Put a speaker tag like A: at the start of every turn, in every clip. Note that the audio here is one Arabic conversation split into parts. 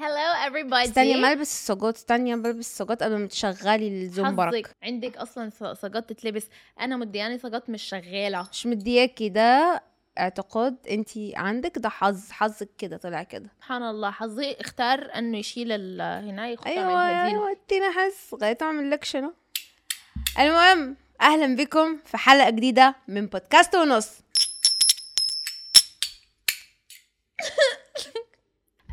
A: everybody
B: استني ما البس السجاد استني ما البس السجاد قبل ما تشغلي الزنبرك
A: حظك عندك اصلا ص- صاجات تتلبس انا مدياني صاجات مش شغاله
B: مش مدياكي ده اعتقاد انت عندك ده حظ حظك كده طلع كده
A: سبحان الله حظي اختار انه يشيل ال- هنا يخطها
B: ايوه ايوه ادينا حس غاية اعمل لك شنو المهم اهلا بكم في حلقه جديده من بودكاست ونص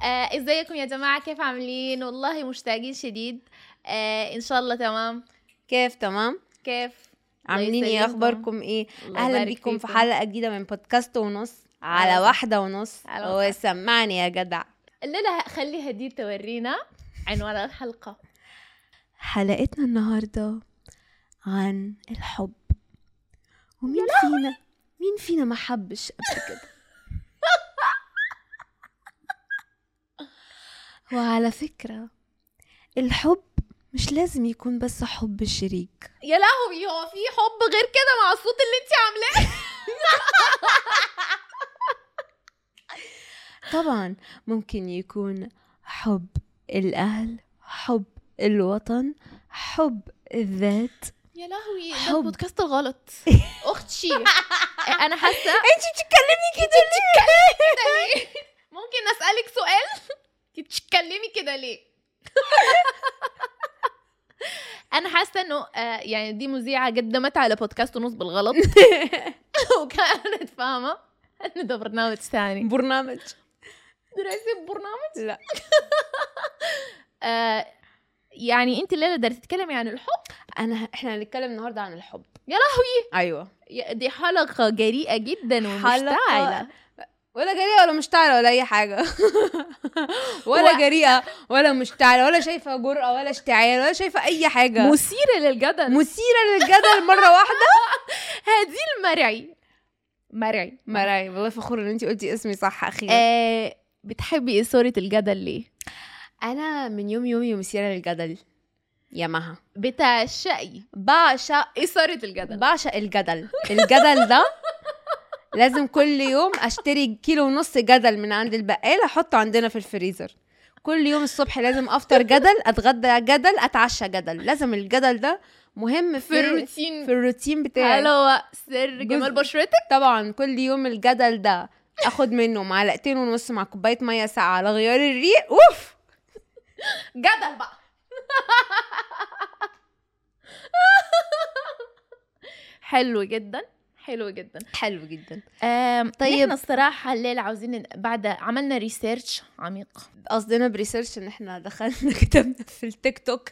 A: آه ازيكم يا جماعه كيف عاملين والله مشتاقين شديد آه ان شاء الله تمام
B: كيف تمام
A: كيف الله
B: عاملين ايه
A: يسلمكم.
B: اخباركم ايه
A: الله
B: اهلا
A: يبارك
B: بكم في
A: فيكم.
B: حلقه جديده من بودكاست ونص
A: على
B: على واحده ونص
A: على واحدة.
B: وسمعني يا جدع
A: الليله هخلي هدير تورينا عنوان الحلقه
B: حلقتنا النهارده عن الحب ومين فينا مين فينا ما حبش قبل كده وعلى فكرة الحب مش لازم يكون بس حب شريك
A: يا لهوي هو في حب غير كده مع الصوت اللي انت عاملاه
B: طبعا ممكن يكون حب الأهل حب الوطن حب الذات
A: يا لهوي
B: حب.
A: ده البودكاست الغلط اختي انا حاسه
B: انت بتتكلمي كده ليه؟
A: ليه؟ ممكن اسالك سؤال انت بتتكلمي كده ليه انا حاسه انه آه، يعني دي مذيعه قدمت على بودكاست ونص بالغلط وكانت فاهمه انه ده برنامج ثاني
B: برنامج
A: دراسه برنامج
B: لا
A: آه، يعني انت الليله ده تتكلمي عن الحب
B: انا احنا هنتكلم النهارده عن الحب
A: يا
B: لهوي ايوه
A: يا- دي حلقه جريئه جدا
B: حلقة
A: ومشتعله
B: ولا جريئه ولا مشتعله ولا اي حاجه ولا
A: و-
B: جريئه ولا مشتعله ولا شايفه جرأه ولا اشتعال ولا شايفه اي حاجه
A: مثيره للجدل
B: مثيره للجدل مره واحده
A: هذه المرعي مرعي
B: مراي والله فخور ان انت قلتي اسمي صح اخيرا
A: آه بتحبي ايه سورة الجدل ليه؟
B: انا من يوم يومي مثيره للجدل يا مها
A: بتعشقي
B: بعشق
A: ايه سورة الجدل؟
B: بعشق الجدل الجدل ده لازم كل يوم اشتري كيلو ونص جدل من عند البقال احطه عندنا في الفريزر كل يوم الصبح لازم افطر جدل اتغدى جدل اتعشى جدل لازم الجدل ده مهم في
A: إيه، في
B: في,
A: الروتين
B: في الروتين بتاعي
A: حلوة سر جمال
B: جزء.
A: بشرتك
B: طبعا كل يوم الجدل ده اخد منه معلقتين ونص مع كوبايه ميه ساقعه على غيار الريق اوف
A: جدل بقى حلو جدا حلو جدا
B: حلو جدا
A: آم،
B: طيب.
A: نحن الصراحة الليلة عاوزين ن- بعد عملنا ريسيرش عميق
B: قصدنا بريسيرش ان احنا دخلنا كتبنا في التيك توك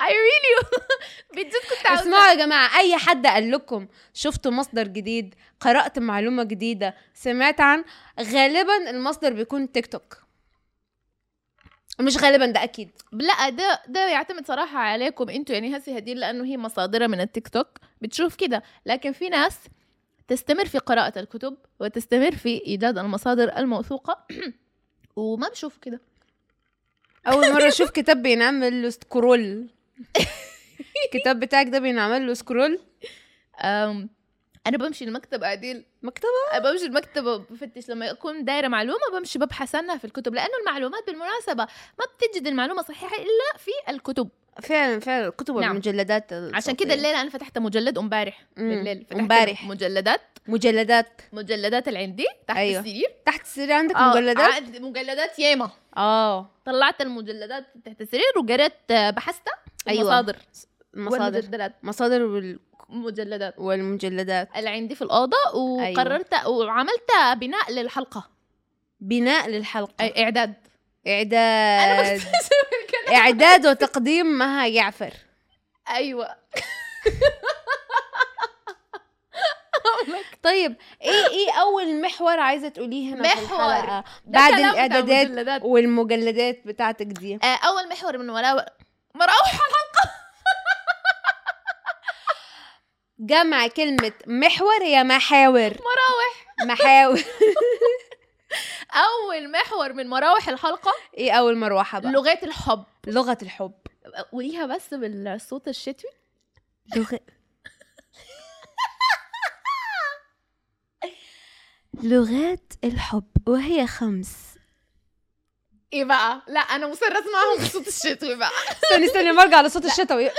A: I really بجد كنت عاوزة
B: اسمعوا يا جماعة أي حد قال لكم شفتوا مصدر جديد قرأت معلومة جديدة سمعت عن غالبا المصدر بيكون تيك توك مش غالبا ده أكيد
A: لا ده ده يعتمد صراحه عليكم انتوا يعني هسي هدير لانه هي مصادرها من التيك توك بتشوف كده لكن في ناس تستمر في قراءه الكتب وتستمر في ايجاد المصادر الموثوقه وما بشوف كده
B: أول مرة أشوف كتاب بينعمل له سكرول الكتاب بتاعك ده بينعمل له سكرول
A: أم انا بمشي المكتب عديل
B: مكتبة
A: بمشي المكتب بفتش لما يكون دايره معلومه بمشي ببحث عنها في الكتب لانه المعلومات بالمناسبه ما بتجد المعلومه صحيحه الا في الكتب
B: فعلا فعلا الكتب
A: نعم.
B: والمجلدات
A: عشان كده الليله انا فتحت مجلد امبارح
B: مم.
A: بالليل فتحت
B: امبارح.
A: مجلدات
B: مجلدات
A: مجلدات اللي عندي تحت
B: أيوة.
A: أيوة. السرير
B: تحت السرير عندك
A: آه،
B: مجلدات
A: عاد- مجلدات ياما
B: اه
A: طلعت المجلدات تحت السرير وقريت آه، بحثت
B: أيوة.
A: المصادر
B: مصادر
A: والمجلدات
B: مصادر وال...
A: مجلدات
B: والمجلدات
A: اللي عندي في الأوضة وقررت وعملت بناء للحلقة
B: بناء للحلقة
A: أي إعداد أنا
B: إعداد
A: بكتشف الكلام.
B: اعداد وتقديم مها يعفر
A: أيوة
B: طيب ايه ايه اول محور عايزه تقوليه هنا في
A: محور.
B: الحلقه
A: ده
B: بعد
A: كلام بتاع
B: الاعدادات
A: المجلدات.
B: والمجلدات بتاعتك دي
A: آه، أول محور من وراء مراوح
B: جمع كلمه محور هي محاور
A: مراوح
B: محاور
A: أول محور من مراوح الحلقة
B: ايه اول مروحه بقى
A: لغات الحب
B: لغه الحب
A: وليها بس بالصوت الشتوي
B: لغه لغات الحب وهي خمس
A: ايه بقى لا انا مصره اسمعهم بصوت الشتوي بقى
B: استني استني برجع لصوت الشتوي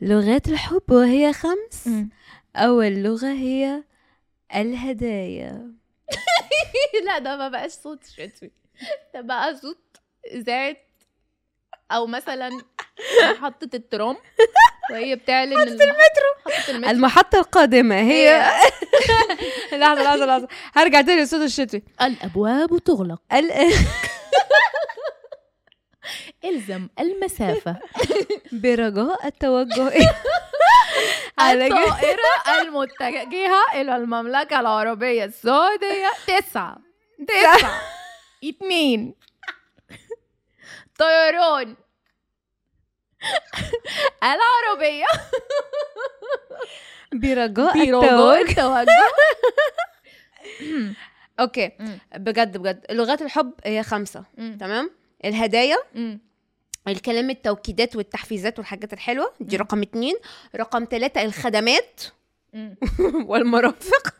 B: لغات الحب وهي خمس أول لغة هي الهدايا
A: لا ده ما بقاش صوت شتوي ده بقى صوت اذاعه او مثلا محطه الترام وهي بتعلن محطه المترو محطه المترو
B: المحطة القادمة هي لحظة لحظة لحظة هرجع تاني لصوت الشتوي
A: الابواب تغلق
B: ال-
A: الزم المسافه
B: برجاء التوجه إلى- على جد-
A: الطائرة المتجهة إلى المملكة العربية السعودية تسعة تسعة اتنين طيران العربية
B: برجاء
A: بيروجون
B: التوجه
A: توجه
B: اوكي
A: مم.
B: بجد بجد لغات الحب هي خمسة
A: مم.
B: تمام الهدايا
A: مم.
B: الكلام التوكيدات والتحفيزات والحاجات الحلوة دي رقم اتنين رقم ثلاثة الخدمات
A: مم.
B: والمرافق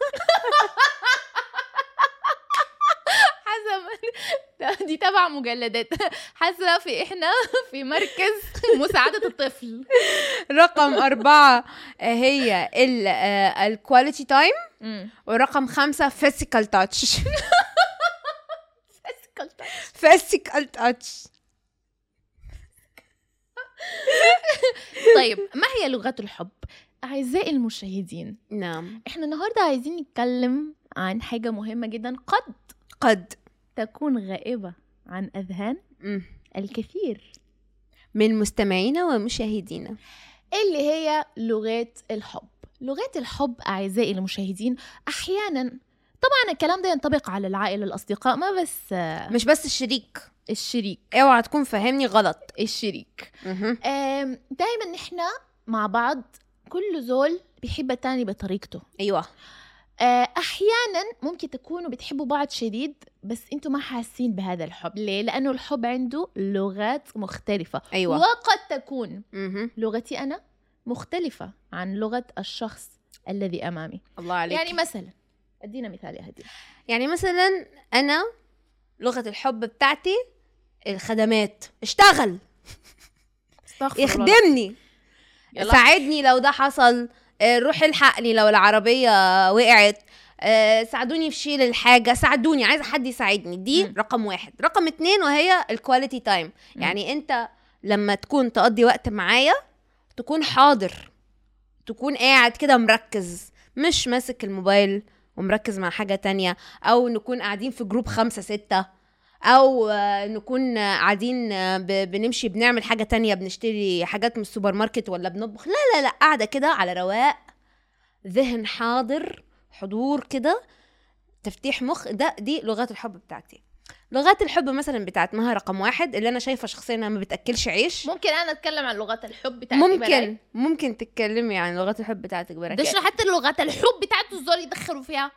A: حسب ده- دي تبع مجلدات حاسة في احنا في مركز مساعدة الطفل
B: رقم أربعة آه، هي آه، الكواليتي تايم
A: مم.
B: ورقم خمسة فيسيكال تاتش
A: اسكت.
B: فيسيكال تاتش
A: طيب ما هي لغات الحب أعزائي المشاهدين
B: نعم
A: احنا النهارده عايزين نتكلم عن حاجة مهمة جدا قد
B: قد
A: تكون غائبة عن أذهان
B: مم.
A: الكثير
B: من مستمعينا ومشاهدينا
A: اللي هي لغات الحب لغات الحب أعزائي المشاهدين أحيانا طبعا الكلام ده ينطبق على العائلة الأصدقاء ما بس
B: مش بس الشريك
A: الشريك
B: اوعى تكون فاهمني غلط
A: الشريك آم، دايما احنا مع بعض كل زول بيحب التاني بطريقته
B: ايوه
A: آه، احيانا ممكن تكونوا بتحبوا بعض شديد بس انتوا ما حاسين بهذا الحب ليه لانه الحب عنده لغات مختلفه
B: ايوه
A: وقد تكون
B: مهم.
A: لغتي انا مختلفه عن لغه الشخص الذي امامي
B: الله عليك
A: يعني
B: يعني,
A: مثلا ادينا مثال يا هدي
B: يعني مثلا انا لغه الحب بتاعتي الخدمات اشتغل يخدمني
A: يلا.
B: ساعدني لو ده حصل آه، روح الحقني لو العربية وقعت آه، ساعدوني في شيل الحاجة ساعدوني عايزة حد يساعدني دي
A: مم.
B: م. رقم واحد رقم اتنين وهي الكواليتي تايم
A: مم.
B: يعني انت لما تكون تقضي وقت معايا تكون حاضر تكون قاعد كده مركز مش ماسك الموبايل ومركز مع حاجة تانية أو نكون قاعدين في جروب خمسة ستة أو آه، نكون آه، قاعدين آه، ب- بنمشي بنعمل حاجة تانية بنشتري حاجات من السوبر ماركت ولا بنطبخ لا لا لا قاعدة كده على رواق ذهن حاضر حضور كده تفتيح مخ ده دي لغات الحب بتاعتي لغات الحب مثلا بتاعت مها رقم واحد اللي انا شايفه شخصيا انها ما بتاكلش عيش
A: ممكن انا اتكلم عن لغات الحب بتاعتي بلاش.
B: ممكن ممكن تتكلمي عن لغات الحب بتاعتك
A: ده
B: براكي
A: شنو حتى لغات الحب بتاعته الزول يدخلوا فيها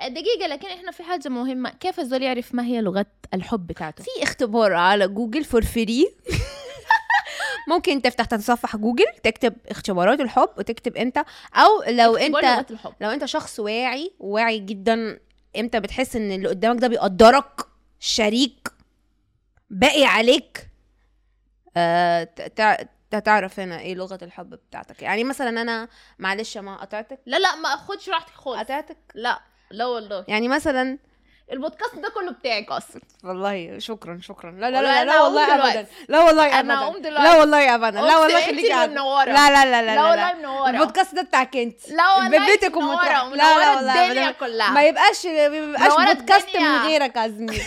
A: دقيقة لكن احنا في حاجة مهمة كيف الزول يعرف ما هي لغة الحب بتاعته
B: في اختبار على جوجل فور فري ممكن تفتح تصفح جوجل تكتب اختبارات الحب وتكتب انت او لو
A: اختبار
B: انت
A: لغات الحب
B: لو انت شخص واعي واعي جدا امتى بتحس ان اللي قدامك ده بيقدرك شريك باقي عليك آه ت- تع- هتعرف هنا ايه لغه الحب بتاعتك يعني مثلا انا معلش ما قطعتك
A: لا لا ما اخدش راحتك خالص
B: قطعتك
A: لا لا والله
B: يعني مثلا
A: البودكاست ده كله بتاعك اصلا
B: والله شكرا شكرا لا لا
A: والله
B: لا, لا,
A: أنا
B: لا
A: هقوم
B: والله
A: دلوقتي.
B: ابدا لا والله
A: أنا
B: ابدا
A: هقوم دلوقتي.
B: لا والله ابدا لا والله
A: قاعدة
B: خليكي قاعدة.
A: منورة
B: لا لا لا لا
A: لا والله
B: لا
A: منورة
B: البودكاست ده بتاع كنت
A: لا والله
B: ببيتك
A: منورة
B: ومطرح
A: منورة الدنيا
B: ما
A: كلها
B: يبقاش ما يبقاش
A: منورة
B: بودكاست من
A: الدنيا.
B: غيرك يا زميلي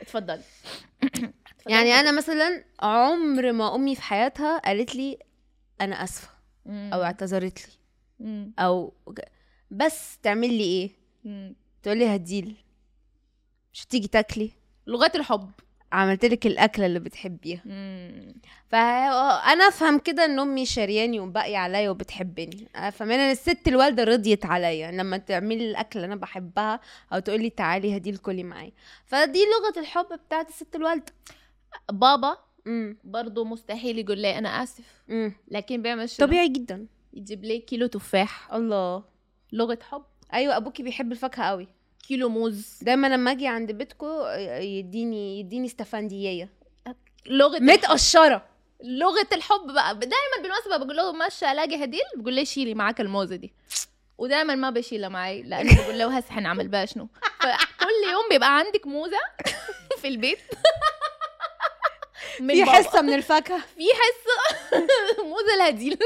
A: اتفضل
B: يعني انا مثلا عمر ما امي في حياتها قالت لي انا اسفه او اعتذرت لي او ج- بس تعمل لي ايه تقول لي هديل مش تيجي تاكلي
A: لغات الحب
B: عملت لك الاكله اللي بتحبيها فانا افهم كده ان امي شارياني وباقي عليا وبتحبني افهم انا الست الوالده رضيت عليا لما تعملي الاكل اللي انا بحبها او تقولي تعالي هدي الكلي معايا فدي لغه الحب بتاعت الست الوالده
A: بابا
B: امم
A: برضه مستحيل يقول لي انا اسف
B: امم
A: لكن بيعمل شنو
B: طبيعي جدا
A: يجيب لي كيلو تفاح
B: الله
A: لغه حب
B: ايوه ابوكي بيحب الفاكهه قوي
A: كيلو موز
B: دايما لما اجي عند بيتكو يديني يديني استفندية
A: لغه
B: متقشره
A: لغه الحب بقى دايما بالمناسبه بقول له ماشي الاقي هديل بقول لي شيلي معاك الموزه دي ودايما ما بشيلها معي لانه بقول له هسه حنعمل بها شنو فكل يوم بيبقى عندك موزه في البيت من
B: في
A: بابا.
B: حصه من الفاكهه
A: في حصه موزه الهديل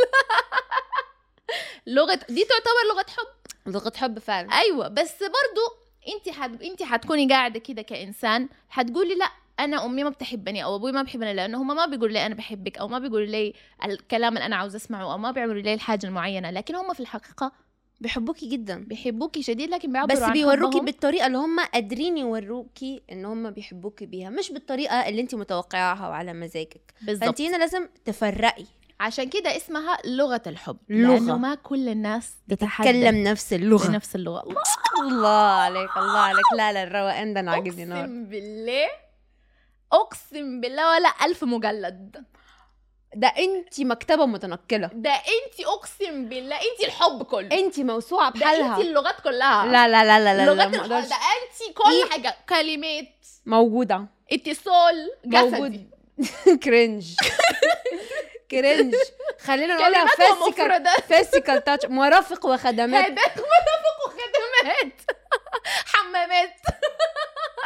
A: لغه دي تعتبر لغه حب
B: لغه حب فعلا
A: ايوه بس برضو انت حد... انت هتكوني قاعده كده كانسان هتقولي لا انا امي ما بتحبني او ابوي ما بيحبني لان هما ما بيقولوا لي انا بحبك او ما بيقولوا لي الكلام اللي انا عاوز اسمعه او ما بيعملوا لي الحاجه المعينه لكن هما في الحقيقه
B: بيحبوكي جدا
A: بيحبوكي شديد لكن بيعبروا
B: بس
A: عن
B: بيوروكي
A: حبهم.
B: بالطريقه اللي هم قادرين يوروكي ان هم بيحبوكي بيها مش بالطريقه اللي انت متوقعاها وعلى مزاجك
A: بالظبط
B: فانت هنا لازم تفرقي
A: عشان كده اسمها لغه الحب
B: لغة.
A: لانه ما كل الناس
B: تكلم
A: بتتحدث
B: نفس اللغه
A: بنفس اللغه الله
B: الله عليك الله عليك لا لا الروقان ده انا عاجبني نار
A: اقسم بالله اقسم بالله ولا الف مجلد
B: ده انت مكتبه متنقله
A: ده انت اقسم بالله انت الحب كله
B: انت موسوعه
A: ده انت
B: بحالها
A: اللغات كلها
B: لا لا لا لا لا, لا
A: لغات
B: ما
A: الحب
B: اقدرش
A: ده انت كل
B: إيه؟
A: حاجه كلمات
B: موجوده
A: اتصال جسدي
B: موجود. كرنج كرنج خلينا نقولها
A: كلمات
B: فيسيكال
A: ومفردات
B: فيسيكال تاتش مرافق وخدمات
A: هداك مرافق وخدمات حمامات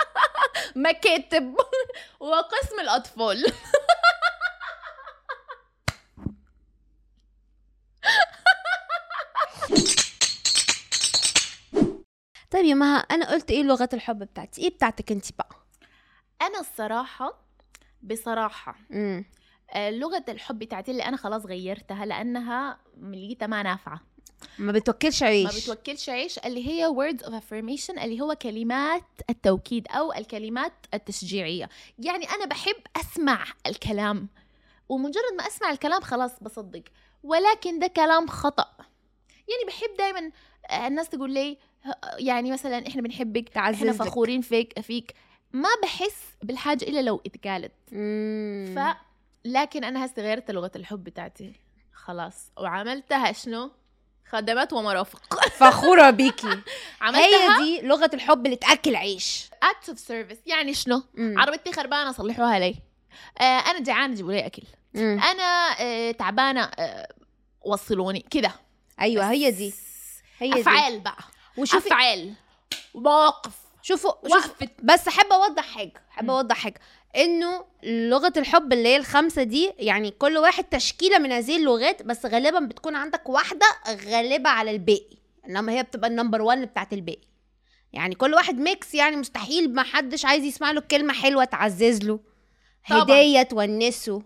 A: مكاتب وقسم الاطفال
B: طيب يا مها انا قلت ايه لغات الحب بتاعتي ايه بتاعتك انت بقى
A: انا الصراحه بصراحه
B: امم
A: آه، لغه الحب بتاعتي اللي انا خلاص غيرتها لانها لقيتها ما نافعه
B: ما بتوكلش
A: ما
B: عيش
A: بتوكلش عيش اللي هي words of affirmation اللي هو كلمات التوكيد او الكلمات التشجيعيه يعني انا بحب اسمع الكلام ومجرد ما اسمع الكلام خلاص بصدق ولكن ده كلام خطا يعني بحب دايما آه، الناس تقول لي آه، يعني مثلا احنا بنحبك احنا
B: تعززك.
A: فخورين فيك فيك ما بحس بالحاجه الا لو اتقالت
B: مم.
A: ف لكن انا هسه غيرت لغه الحب بتاعتي خلاص وعملتها شنو خدمات ومرافق
B: فخوره بيكي
A: عملتها
B: هي دي لغه الحب اللي تاكل عيش
A: اكت اوف سيرفيس يعني شنو
B: مم.
A: عربيتي خربانه صلحوها لي آه انا جعانه جيبوا لي اكل
B: مم.
A: انا آه تعبانه آه وصلوني كده أيوة،
B: ايوه هي دي هي دي
A: افعال بقى
B: وشوفي
A: افعال مواقف
B: شوفوا شوفوا
A: وقفه
B: بس حابه اوضح حاجه
A: مم.
B: حابه اوضح حاجه انه لغه الحب اللي هي الخمسه دي يعني كل واحد تشكيله من هذه اللغات بس غالبا بتكون عندك واحده غالبه على الباقي انما هي بتبقى النمبر 1 بتاعت الباقي يعني كل واحد ميكس يعني مستحيل ما حدش عايز يسمع له كلمه حلوه تعزز له
A: طبعاً.
B: هديه تونسه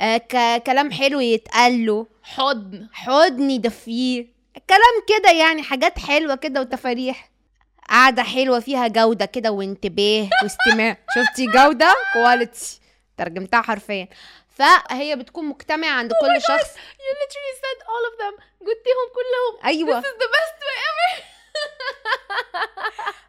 B: آه ك- كلام حلو يتقال له
A: حضن
B: حضن يدفيه كلام كده يعني حاجات حلوه كده وتفاريح قعده حلوه فيها جوده كده وانتباه واستماع شفتي جوده كواليتي ترجمتها حرفيا فهي بتكون مجتمعه
A: Oh
B: عند كل شخص
A: you literally said all of them قلتهم كلهم
B: ايوه
A: this is the best way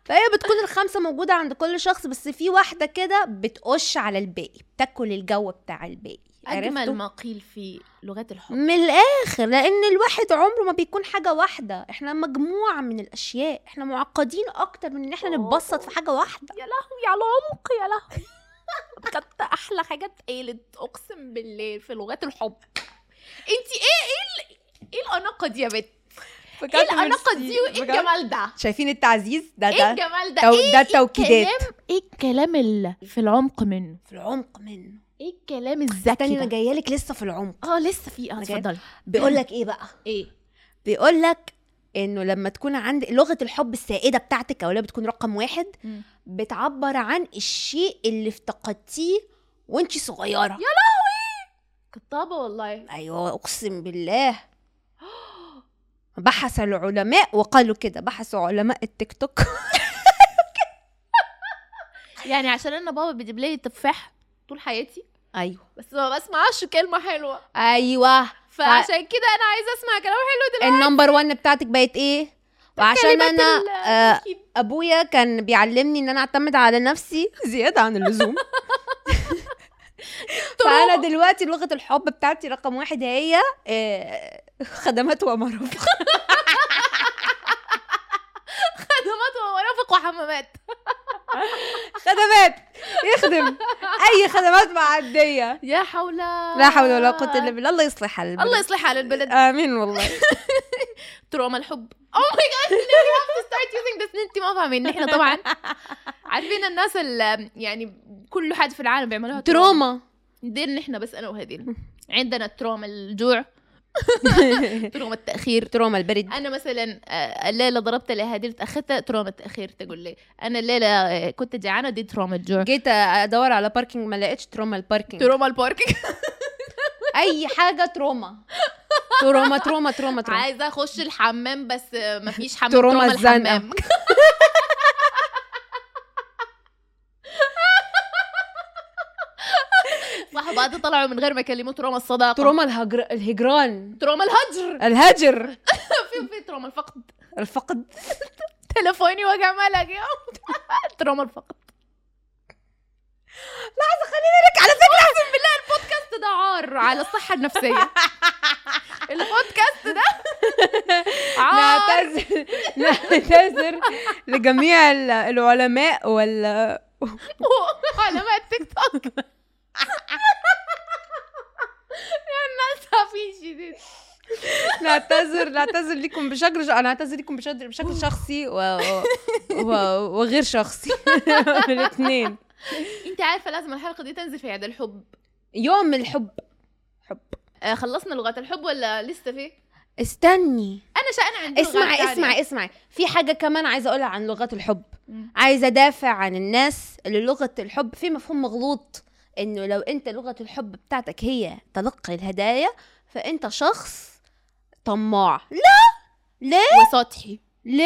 B: فهي بتكون الخمسه موجوده عند كل شخص بس في واحده كده بتقش على الباقي بتاكل الجو بتاع الباقي
A: اجمل
B: عرفتوا؟
A: ما قيل في لغات الحب
B: من الاخر لان الواحد عمره ما بيكون حاجه واحده احنا مجموعه من الاشياء احنا معقدين اكتر من ان احنا نتبسط في حاجه واحده
A: يا لهوي على عمق يا لهوي بجد احلى حاجه اتقالت اقسم بالله في لغات الحب انت ايه ايه ال- ايه الاناقه دي يا بت
B: إيه
A: ايه الاناقه دي وايه الجمال ده
B: شايفين التعزيز ده
A: ايه
B: ده
A: الجمال ده
B: تو-
A: ايه
B: ده التوكيدات
A: الكلام ايه الكلام اللي في العمق منه
B: في العمق منه
A: ايه الكلام
B: تاني
A: الذكي
B: انا
A: ده
B: جايه لك لسه في العمق
A: اه لسه في اه
B: أنا
A: اتفضل
B: بيقول لك ايه بقى
A: ايه
B: بيقول لك انه لما تكون عند لغه الحب السائده بتاعتك او اللي بتكون رقم واحد
A: مم.
B: بتعبر عن الشيء اللي افتقدتيه وانت صغيره
A: كطابه والله
B: ايوه اقسم بالله بحث العلماء وقالوا كده بحثوا علماء التيك توك
A: يعني عشان انا بابا بيجيب لي تفاح طول حياتي
B: ايوه
A: بس ما بسمعش كلمه حلوه
B: ايوه
A: فعشان كده انا عايزه اسمع كلام حلو دلوقتي
B: النمبر 1 بتاعتك بقت ايه وعشان
A: كلمات
B: انا
A: ال-
B: آه،
A: أكيد.
B: ابويا كان بيعلمني ان انا اعتمد على نفسي زياده عن اللزوم انا دلوقتي لغه الحب بتاعتي رقم واحد هي آه، خدمات ومرافق
A: خدمات ومرافق وحمامات
B: خدمات يخدم اي خدمات معديه
A: يا حول
B: لا حول ولا قوه الا بالله الله يصلح حال البلد.
A: الله يصلح على البلد
B: امين والله
A: تروما الحب او ماي جاد you have to start using this انت ما فاهمين احنا طبعا عارفين الناس اللي يعني كل حد في العالم بيعملوها
B: تروما
A: دين احنا بس انا وهديل عندنا تروما الجوع تروما التاخير
B: تروما البرد
A: انا مثلا آه، الليله ضربت لهديل اخذتها تروما التاخير تقول لي انا الليله آه، كنت جعانه دي تروما الجوع
B: جيت ادور على باركينج ما لقيتش تروما الباركينج
A: تروما الباركينج
B: اي حاجه تروما تروما تروما تروما تروما
A: عايزه اخش الحمام بس آه، مفيش حمام
B: تروما
A: تروما
B: الزنقة.
A: الحمام صحباتي طلعوا من غير ما يكلموا تروما الصداقه
B: تروما الهجر... الهجران
A: تروما الهجر
B: الهجر
A: في في تروما الفقد
B: الفقد
A: تلفوني وقع مالك يا تروما الفقد
B: لك على فكره
A: البودكاست ده عار على الصحه النفسيه البودكاست ده آه. عار
B: نعتذر نعتذر لجميع ال- العلماء وال
A: علماء التيك توك يا الناس هافين شديد
B: نعتذر نعتذر لكم بشكل ش... نعتذر لكم بشكل بشكل شخصي و... و... و- وغير شخصي الاثنين
A: انت عارفه لازم الحلقه دي تنزل في عيد الحب
B: يوم الحب حب
A: آه، خلصنا لغات الحب ولا لسه في
B: استني
A: انا شأن عندي
B: اسمعي
A: لغات تانية.
B: اسمعي اسمعي في حاجه كمان عايزه اقولها عن لغات الحب
A: مم.
B: عايزه ادافع عن الناس اللي لغه الحب في مفهوم مغلوط انه لو انت لغه الحب بتاعتك هي تلقي الهدايا فانت شخص طماع لا
A: أه،
B: ليه
A: وسطحي
B: ليه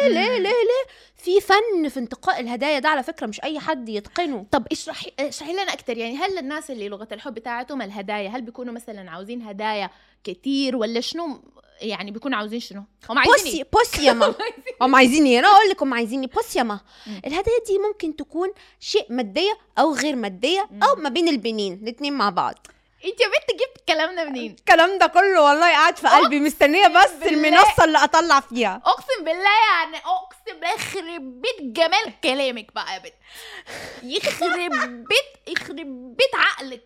B: ليه ليه
A: مم.
B: ليه ليه في فن في انتقاء الهدايا ده على فكره مش اي حد يتقنه
A: طب اشرحي اشرحي لنا اكثر يعني هل الناس اللي لغه الحب بتاعتهم الهدايا هل بيكونوا مثلا عاوزين هدايا كتير ولا شنو يعني بيكونوا عاوزين شنو هم عايزين
B: بوسي
A: إيه؟
B: بوسي يا ما هم عايزين ايه انا اقول لك هم عايزين ايه بوسي يا ما
A: مم.
B: الهدايا دي ممكن تكون شيء ماديه او غير ماديه او
A: مم.
B: ما بين البنين الاثنين مع بعض
A: انت يا بنت جبت كلامنا منين
B: الكلام ده كله والله قاعد في قلبي مستنيه بس
A: بالله.
B: المنصه اللي اطلع فيها
A: اقسم بالله يعني اقسم بالله يخرب بيت جمال كلامك بقى يا بنت يخرب بيت يخرب بيت عقلك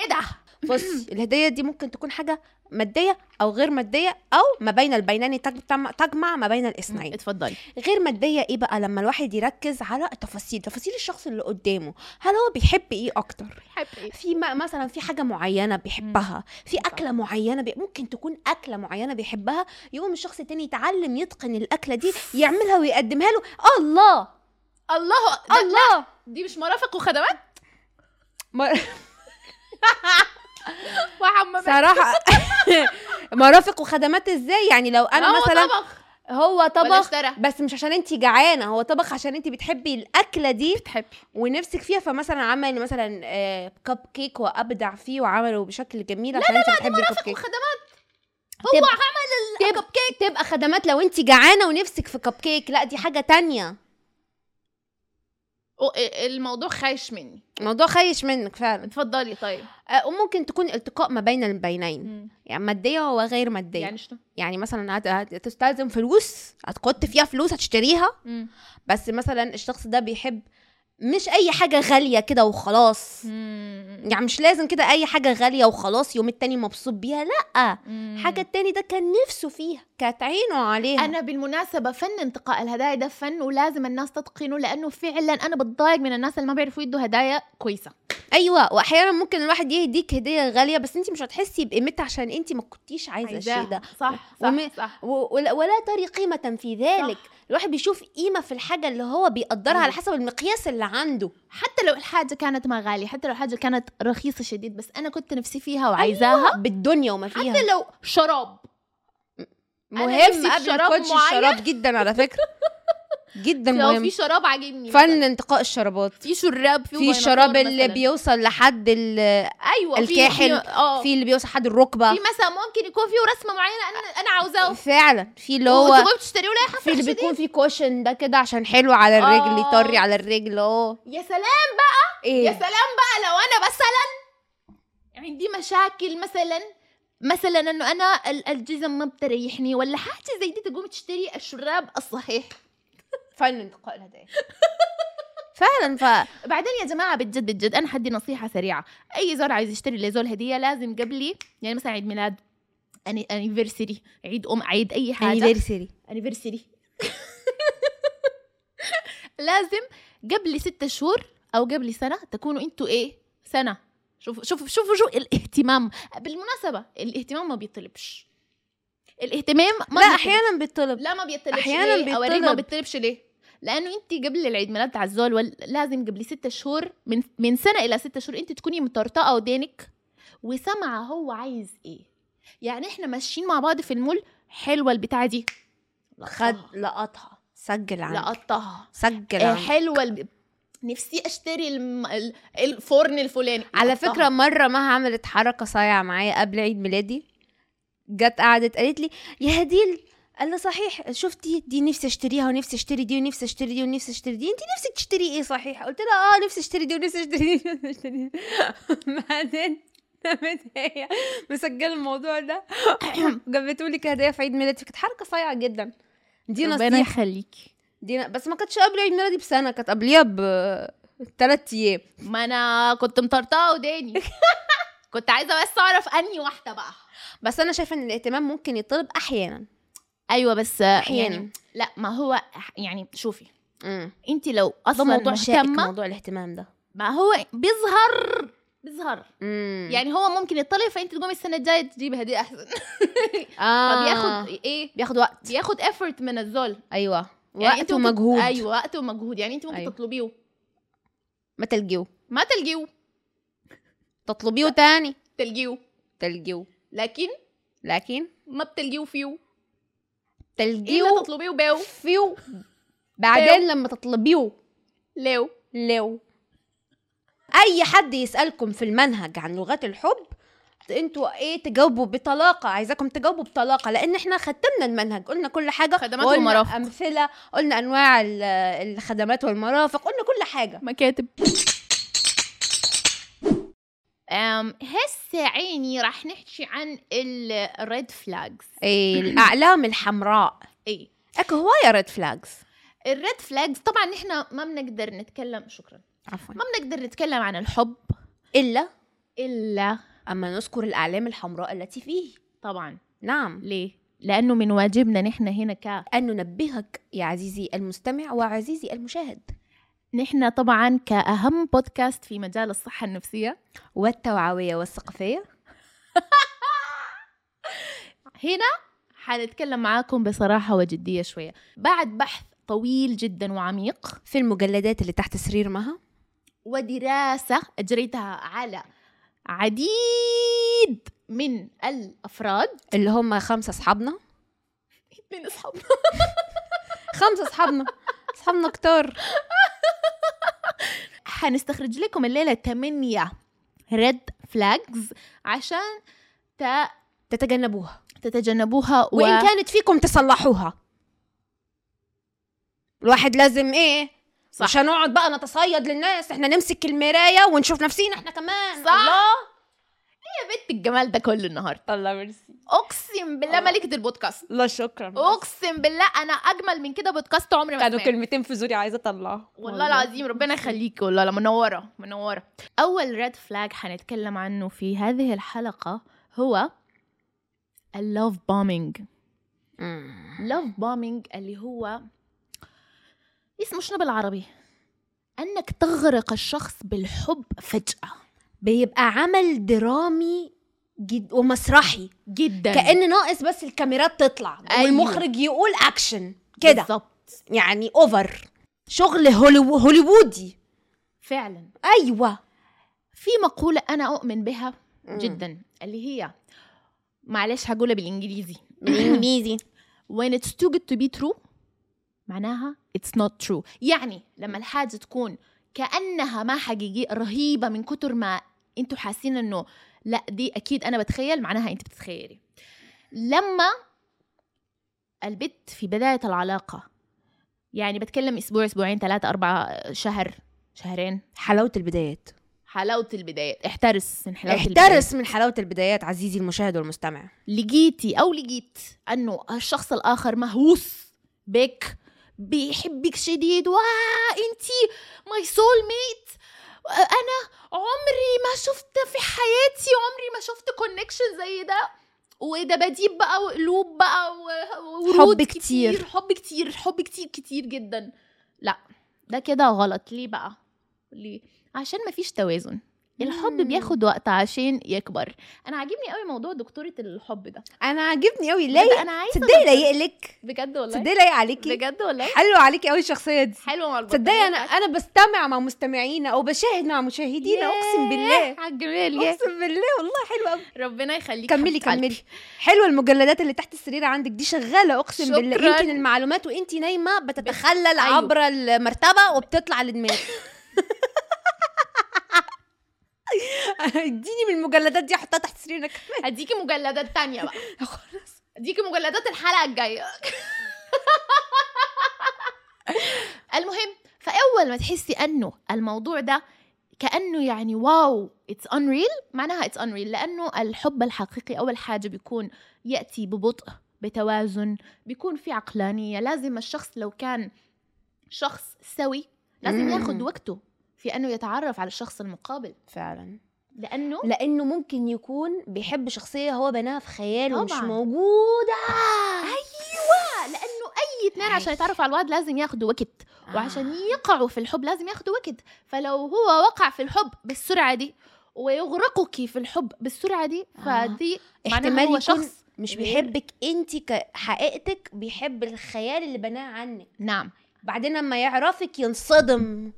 A: ايه ده
B: بص الهديه دي ممكن تكون حاجه ماديه او غير ماديه او ما بين البينين تجمع تجمع ما بين الاثنين
A: اتفضلي
B: غير ماديه ايه بقى لما الواحد يركز على تفاصيل تفاصيل الشخص اللي قدامه هل هو بيحب ايه اكتر في م- مثلا في حاجه معينه بيحبها في اكله معينه بي... ممكن تكون اكله معينه بيحبها يقوم الشخص التاني يتعلم يتقن الاكله دي يعملها ويقدمها له الله
A: الله ده-
B: الله
A: دي مش مرافق وخدمات
B: ما-
A: وحمامات
B: صراحه مرافق وخدمات ازاي يعني لو انا
A: هو
B: مثلا
A: طبخ
B: هو
A: ولا
B: طبخ
A: اشترى
B: بس مش عشان انت جعانه هو طبخ عشان انت بتحبي الاكله دي
A: بتحبي
B: ونفسك فيها فمثلا عمل آه، مثلا كب كيك وابدع فيه وعمله بشكل جميل عشان انت بتحبي الكب كيك
A: وخدمات
B: تبقى-
A: هو عمل
B: تبقى-
A: الكب كيك
B: تبقى خدمات لو انت جعانه ونفسك في كب كيك لا دي حاجه تانية
A: أو- إيه- الموضوع خايش مني
B: الموضوع خيش منك فعلا
A: اتفضلي طيب
B: آه، وممكن تكون التقاء ما بين البينين يعني ماديه وغير ماديه يعني,
A: يعني شنو
B: يعني مثلا هت- هت- هتستلزم فلوس هتحط فيها فلوس هتشتريها بس مثلا الشخص ده بيحب مش اي حاجه غاليه كده وخلاص يعني مش لازم كده اي حاجه غاليه وخلاص يوم التاني مبسوط بيها لا حاجه التاني ده كان نفسه فيها كانت عينه عليها
A: انا بالمناسبه فن انتقاء الهدايا ده فن ولازم الناس تتقنه لانه فعلا انا بتضايق من الناس اللي ما بيعرفوا يدوا هدايا كويسه
B: ايوه واحيانا ممكن الواحد يهديك هديه غاليه بس انت مش هتحسي بقيمتها عشان انت ما كنتيش عايزه الشيء ده
A: صح صح
B: وم-
A: صح
B: و- ولا ولا تري قيمه في ذلك
A: صح.
B: الواحد بيشوف قيمه في الحاجه اللي هو بيقدرها
A: أيوة.
B: على حسب المقياس اللي عنده
A: حتى لو الحاجه كانت ما غاليه حتى لو الحاجه كانت رخيصه شديد بس انا كنت نفسي فيها وعايزاها
B: بالدنيا وما فيها
A: حتى لو شراب أنا نفسي
B: مهم
A: في
B: قبل
A: شراب
B: الكوتش
A: معين.
B: الشراب جدا على فكره جدا
A: لو
B: مهم
A: في شراب عاجبني
B: فن انتقاء الشرابات
A: في شراب في
B: في الشراب اللي
A: بي...
B: بيوصل لحد ال-
A: ايوه في-
B: الكاحل،
A: في اه
B: في اللي بيوصل لحد الركبه
A: في مثلا ممكن يكون فيه رسمه معينه انا انا عاوزاه
B: فعلا في اللي هو
A: وتقوم تشتريه ولا
B: في
A: حفله
B: اللي
A: شديد
B: بيكون في كوشن ده كده عشان حلو على الرجل
A: آه.
B: يطري على الرجل اه
A: يا سلام بقى يا
B: ايه
A: سلام بقى لو انا مثلا عندي يعني مشاكل مثلا مثلا انه انا ال- الجزم ما بتريحني ولا حاجه زي دي تقوم تشتري الشراب الصحيح
B: فعلا الانتقاء الهدائي فعلا ف
A: بعدين يا جماعه بجد بجد انا حدي نصيحه سريعه اي زول عايز يشتري لزول هديه لازم قبلي يعني مثلا عيد ميلاد انيفرسري عيد ام عيد اي حاجه
B: anniversary
A: انيفرسري لازم قبل ستة شهور او قبل سنه تكونوا انتوا ايه سنه شوفوا شوفوا شوفوا شو الاهتمام بالمناسبه الاهتمام ما بيطلبش الاهتمام ما
B: لا
A: بيطلب.
B: احيانا بيطلب
A: لا ما بيطلبش
B: أحياناً
A: ليه؟ أوريك ما
B: بيطلب.
A: بيطلبش ليه لانه انت قبل العيد ميلاد تاع الزول ول- لازم قبل ستة شهور من من سنه الى ستة شهور انت تكوني مطرطقه ودينك وسامعه هو عايز ايه يعني احنا ماشيين مع بعض في المول حلوه البتاعه دي
B: خد لقطها سجل عنها
A: لقطها
B: سجل
A: آه،
B: عنها
A: حلوه الب... نفسي اشتري الم... ال- الفرن الفلاني
B: على
A: لقطها.
B: فكره مره ما عملت حركه صايعه معايا قبل عيد ميلادي جت قعدت قالت لي يا هديل قال لي صحيح شفتي دي نفسي اشتريها ونفسي اشتري دي ونفسي اشتري دي ونفسي اشتري دي انت نفسك تشتري ايه صحيح قلت لها اه نفسي اشتري دي ونفسي اشتري دي ونفسي اشتري دي بعدين قامت هي مسجله الموضوع ده جابته لي كهديه في عيد ميلادي كانت حركه صايعه جدا دي
A: ربنا
B: نصيحه
A: يخليك
B: دي ن- بس ما كانتش قبل عيد ميلادي بسنه كانت قبليها ب تلات ايام
A: ما انا كنت مطرطقه وداني كنت عايزه بس اعرف انهي واحده بقى
B: بس انا شايفه ان الاهتمام ممكن يطلب احيانا أيوة،
A: ايوه بس آه، يعني
B: احيانا
A: لا ما هو أح- يعني شوفي
B: امم
A: انت لو اصلا
B: ده موضوع شائك
A: مهتمه
B: موضوع الاهتمام ده
A: ما هو بيظهر بيظهر
B: امم يعني
A: يعني هو ممكن يطلع فانت تقومي السنه الجايه تجيبي هديه احسن
B: آه.
A: فبياخد ايه
B: بياخد وقت
A: بياخد effort من الزول
B: ايوه
A: يعني
B: وقت
A: انت ممكن-
B: ومجهود
A: ايوه وقت ومجهود يعني انت ممكن
B: أيوة.
A: أيوة. تطلبيه
B: ما تلجيو
A: ما تلجيه
B: تطلبيه تاني
A: تلجيه
B: تلجيو
A: لكن
B: لكن
A: ما بتلجيه فيو الا
B: تلجيو
A: تطلبيه باو
B: فيو بعدين لما تطلبيه
A: لو
B: لو اي حد يسالكم في المنهج عن لغات الحب انتوا ايه تجاوبوا بطلاقه عايزاكم تجاوبوا بطلاقه لان احنا ختمنا المنهج قلنا كل حاجه
A: خدمات
B: وقلنا
A: والمرافق.
B: امثله قلنا انواع ال- الخدمات والمرافق قلنا كل حاجه
A: مكاتب أم هسه عيني راح نحكي عن الريد فلاجز
B: إيه، الاعلام الحمراء
A: ايه
B: اكو هوايه ريد فلاجز
A: الريد فلاجز طبعا نحن ما بنقدر نتكلم شكرا
B: عفوا
A: ما بنقدر نتكلم عن الحب
B: الا
A: الا
B: اما نذكر الاعلام الحمراء التي فيه
A: طبعا
B: نعم
A: ليه لانه من واجبنا نحن هنا ك
B: ان ننبهك يا عزيزي المستمع وعزيزي المشاهد
A: نحن طبعا كاهم بودكاست في مجال الصحه النفسيه
B: والتوعويه والثقافيه
A: هنا حنتكلم معاكم بصراحه وجديه شويه بعد بحث طويل جدا وعميق
B: في المجلدات اللي تحت سرير مها
A: ودراسة أجريتها على عديد من الأفراد
B: اللي هم خمسة أصحابنا
A: من أصحابنا
B: خمسة أصحابنا أصحابنا كتار
A: حنستخرج لكم الليلة تمانية ريد فلاجز عشان ت-
B: تتجنبوها
A: تتجنبوها و...
B: وإن كانت فيكم تصلحوها الواحد لازم إيه
A: صح.
B: مش هنقعد بقى نتصيد للناس احنا نمسك المراية ونشوف نفسينا احنا كمان
A: صح.
B: الله
A: يا بنت الجمال ده كله النهاردة
B: الله ميرسي
A: أقسم بالله
B: الله.
A: ملكة البودكاست
B: لا شكرا
A: أقسم بالله أنا أجمل من كده بودكاست عمري ما سمعت
B: كلمتين في زوري عايزة اطلعهم
A: والله العظيم ربنا يخليكي والله لا منوره منوره اول ريد فلاج حنتكلم عنه في هذه الحلقه هو اللوف بومينج لوف بومينج اللي هو اسمه شنو بالعربي انك تغرق الشخص بالحب فجاه
B: بيبقى عمل درامي جد ومسرحي
A: جدا
B: كأن ناقص بس الكاميرات تطلع
A: أيوة.
B: والمخرج يقول أكشن كده
A: بالظبط
B: يعني اوفر شغل هوليو- هوليوودي
A: فعلا
B: ايوه
A: في مقوله انا اؤمن بها
B: مم.
A: جدا اللي هي معلش هقولها بالانجليزي
B: بالانجليزي
A: when it's too good to be true معناها it's not true يعني لما الحاجة تكون كأنها ما حقيقية رهيبة من كتر ما انتوا حاسين انه لا دي اكيد انا بتخيل معناها انت بتتخيلي لما البت في بداية العلاقة يعني بتكلم اسبوع اسبوعين ثلاثة اربعة شهر شهرين
B: حلاوه البدايات
A: حلاوه البدايات احترس من حلاوه البدايات.
B: احترس من حلاوه البدايات عزيزي المشاهد والمستمع
A: لقيتي او لقيت انه الشخص الاخر مهووس بك بيحبك شديد وانتي ماي سول ميت انا عمري ما شفت في حياتي عمري ما شفت كونكشن زي ده وده بديب بقى وقلوب بقى و- وورود
B: حب كتير.
A: حب كتير حب كتير كتير جدا لا ده كده غلط ليه بقى ليه عشان مفيش توازن الحب
B: مم.
A: بياخد وقت عشان يكبر انا عاجبني قوي موضوع دكتوره الحب ده
B: انا عاجبني قوي
A: بجد
B: لايق
A: انا عايزه
B: تصدقي لايق لك
A: بجد والله
B: تصدقي لايق عليكي
A: بجد والله
B: حلوه عليكي قوي الشخصيه دي
A: حلوه مع البطانية
B: تصدقي انا
A: بتاعتك.
B: انا بستمع مع مستمعينا او بشاهد مع مشاهدينا
A: ياه،
B: اقسم بالله
A: على الجمال ياه.
B: اقسم بالله والله حلوه قوي
A: ربنا يخليك
B: كملي
A: حبيبة قلبي.
B: كملي حلوه المجلدات اللي تحت السرير عندك دي شغاله اقسم بالله
A: شكراً.
B: يمكن المعلومات وانت نايمه بتتخلل
A: أيوه.
B: عبر المرتبه وبتطلع لدماغك اديني من المجلدات دي احطها تحت سريرك
A: اديكي مجلدات تانية بقى اديكي مجلدات الحلقه الجايه المهم فاول ما تحسي انه الموضوع ده كانه يعني واو اتس انريل معناها اتس انريل لانه الحب الحقيقي اول حاجه بيكون ياتي ببطء بتوازن بيكون في عقلانيه لازم الشخص لو كان شخص سوي لازم
B: مم.
A: ياخد وقته في انه يتعرف على الشخص المقابل
B: فعلا
A: لانه
B: لانه ممكن يكون بيحب شخصيه هو بناها في خياله
A: طبعاً.
B: ومش موجوده
A: ايوه لانه اي اثنين عشان يتعرفوا على الواد لازم ياخدوا وقت
B: آه.
A: وعشان يقعوا في الحب لازم ياخدوا وقت فلو هو وقع في الحب بالسرعه دي ويغرقك في الحب بالسرعه دي
B: آه.
A: فدي معناها
B: احتمال
A: هو
B: يكون
A: شخص
B: مش
A: غير-
B: بيحبك انت كحقيقتك بيحب الخيال اللي بناه عنك
A: نعم
B: بعدين لما يعرفك ينصدم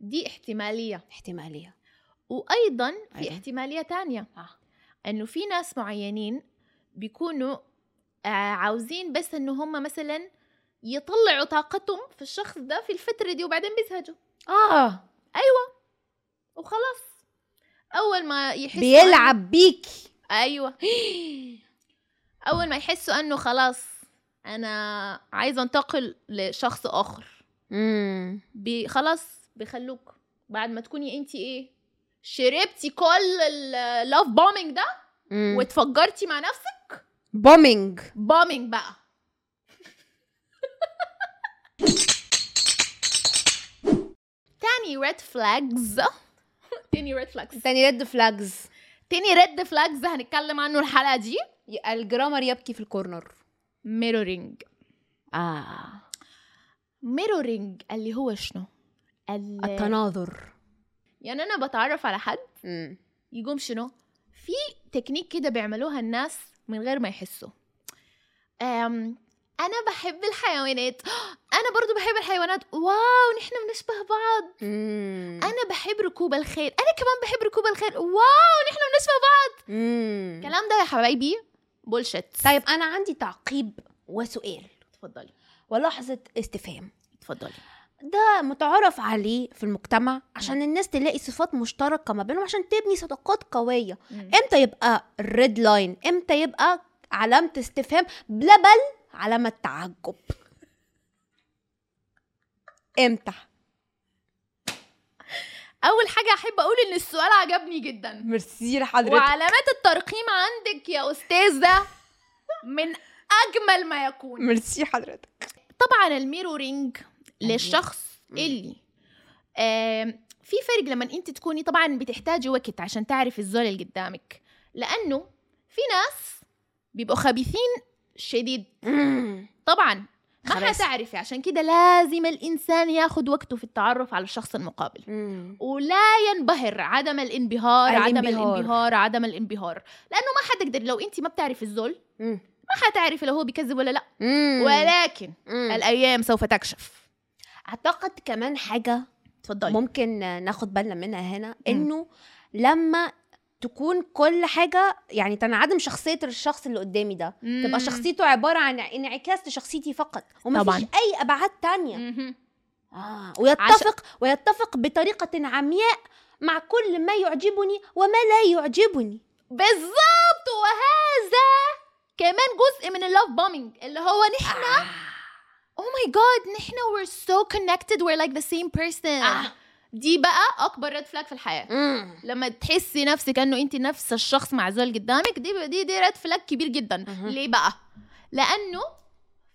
A: دي احتماليه
B: احتماليه
A: وايضا في
B: أيوة.
A: احتماليه تانية
B: آه.
A: انه في ناس معينين بيكونوا آه، عاوزين بس انه هم مثلا يطلعوا طاقتهم في الشخص ده في الفتره دي وبعدين بيزهجوا
B: اه
A: وخلاص اول ما يحسوا إنه-
B: بيلعب بيكي
A: ايوه اول ما يحسوا انه خلاص انا عايزه انتقل لشخص اخر
B: امم
A: بي خلاص بيخلوك بعد ما تكوني انت ايه شربتي كل اللاف بومينج ده واتفجرتي مع نفسك
B: بومينج
A: بومينج بقى تاني ريد فلاجز تاني ريد فلاجز
B: تاني ريد فلاجز
A: تاني ريد فلاجز هنتكلم عنه الحلقه دي
B: الجرامر يبكي في الكورنر
A: ميرورينج
B: اه
A: ميرورينج اللي هو شنو؟ ال-
B: التناظر
A: يعني انا بتعرف على حد يقوم شنو؟ في تكنيك كده بيعملوها الناس من غير ما يحسوا. أم انا بحب الحيوانات انا برضو بحب الحيوانات واو نحن بنشبه بعض
B: امم
A: انا بحب ركوب الخيل انا كمان بحب ركوب الخيل واو نحن بنشبه بعض الكلام ده يا حبايبي بولشت
B: طيب انا عندي تعقيب وسؤال
A: اتفضلي
B: ولحظه استفهام
A: اتفضلي
B: ده متعارف عليه في المجتمع عشان الناس تلاقي صفات مشتركه ما بينهم عشان تبني صداقات قويه
A: إيه؟
B: امتى يبقى الريد لاين امتى يبقى علامه استفهام لا بل علامه تعجب امتى
A: اول حاجه احب اقول ان السؤال عجبني جدا
B: ميرسي لحضرتك
A: وعلامات الترقيم عندك يا استاذه من اجمل ما يكون
B: ميرسي حضرتك
A: طبعا الميرورينج
B: أيوة.
A: للشخص
B: مم.
A: اللي آم، في فرق لما انت تكوني طبعا بتحتاجي وقت عشان تعرفي الزول اللي قدامك لانه في ناس بيبقوا خبيثين شديد طبعا ما
B: خبيث.
A: حتعرفي عشان كده لازم الانسان ياخد وقته في التعرف على الشخص المقابل ولا ينبهر عدم الانبهار عدم
B: الانبهار.
A: الانبهار عدم الانبهار لانه ما حتقدر لو انت ما بتعرفي الزول ما حتعرفي لو هو بيكذب ولا لا ولكن الايام سوف تكشف
B: اعتقد كمان حاجه
A: اتفضلي
B: ممكن ناخد بالنا منها هنا انه لما تكون كل حاجه يعني تنعدم شخصيه الشخص اللي قدامي ده تبقى شخصيته عباره عن انعكاس لشخصيتي فقط
A: طبعاً.
B: ومفيش اي ابعاد تانية
A: مهم.
B: آه. ويتفق ويتفق بطريقه عمياء مع كل ما يعجبني وما لا يعجبني
A: بالظبط وهذا كمان جزء من اللاف بومينج اللي هو Oh نحن
B: آه.
A: او ماي جاد نحن we're so connected we're like the same person
B: آه.
A: دي بقى اكبر ريد فلاج في الحياه
B: مم.
A: لما تحسي نفسك انه انت نفس الشخص معزول قدامك دي دي دي ريد فلاج كبير جدا
B: أها.
A: ليه بقى لانه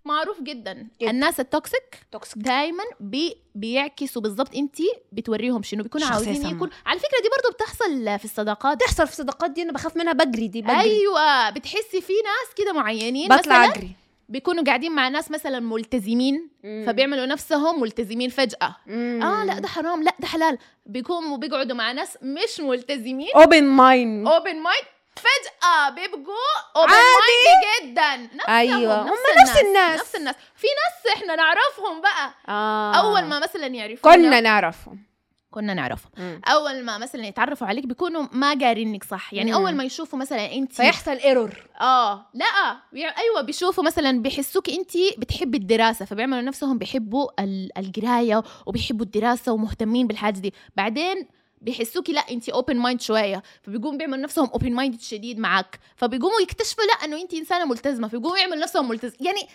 A: معروف جدا
B: جدا.
A: الناس التوكسيك
B: توكسيك
A: دايما بي بيعكسوا بالظبط انت بتوريهم شنو بيكونوا
B: شخصية
A: عاوزين
B: سامة.
A: يكون على فكره دي برضو بتحصل في الصداقات
B: بتحصل في الصداقات دي انا بخاف منها بجري دي بجري
A: ايوه بتحسي في ناس كده معينين
B: بطلع
A: مثلا
B: اجري
A: بيكونوا قاعدين مع ناس مثلا ملتزمين فبيعملوا نفسهم ملتزمين فجاه
B: آه،
A: اه لا ده حرام لا ده حلال بيقوموا بيقعدوا مع ناس مش ملتزمين
B: اوبن مايند
A: اوبن مايند فجأة بيبقوا اوبن مايند جدا نفسهم
B: ايوه هم نفس الناس.
A: نفس الناس في ناس احنا نعرفهم بقى
B: آه.
A: اول ما مثلا يعرفونا
B: كنا نعرفهم
A: كنا نعرفهم اول ما مثلا يتعرفوا عليك بيكونوا ما قارينك صح يعني
B: مم.
A: اول ما يشوفوا مثلا انت
B: فيحصل ايرور
A: اه لا يعني ايوه بيشوفوا مثلا بيحسوك انت بتحبي الدراسه فبيعملوا نفسهم بيحبوا ال- القرايه وبيحبوا الدراسه ومهتمين بالحاجه دي بعدين بيحسوكي لا انت اوبن مايند شويه فبيقوموا بيعملوا نفسهم اوبن مايند شديد معاك فبيقوموا يكتشفوا لا انه انت انسانه ملتزمه فبيقوموا يعملوا نفسهم ملتزم يعني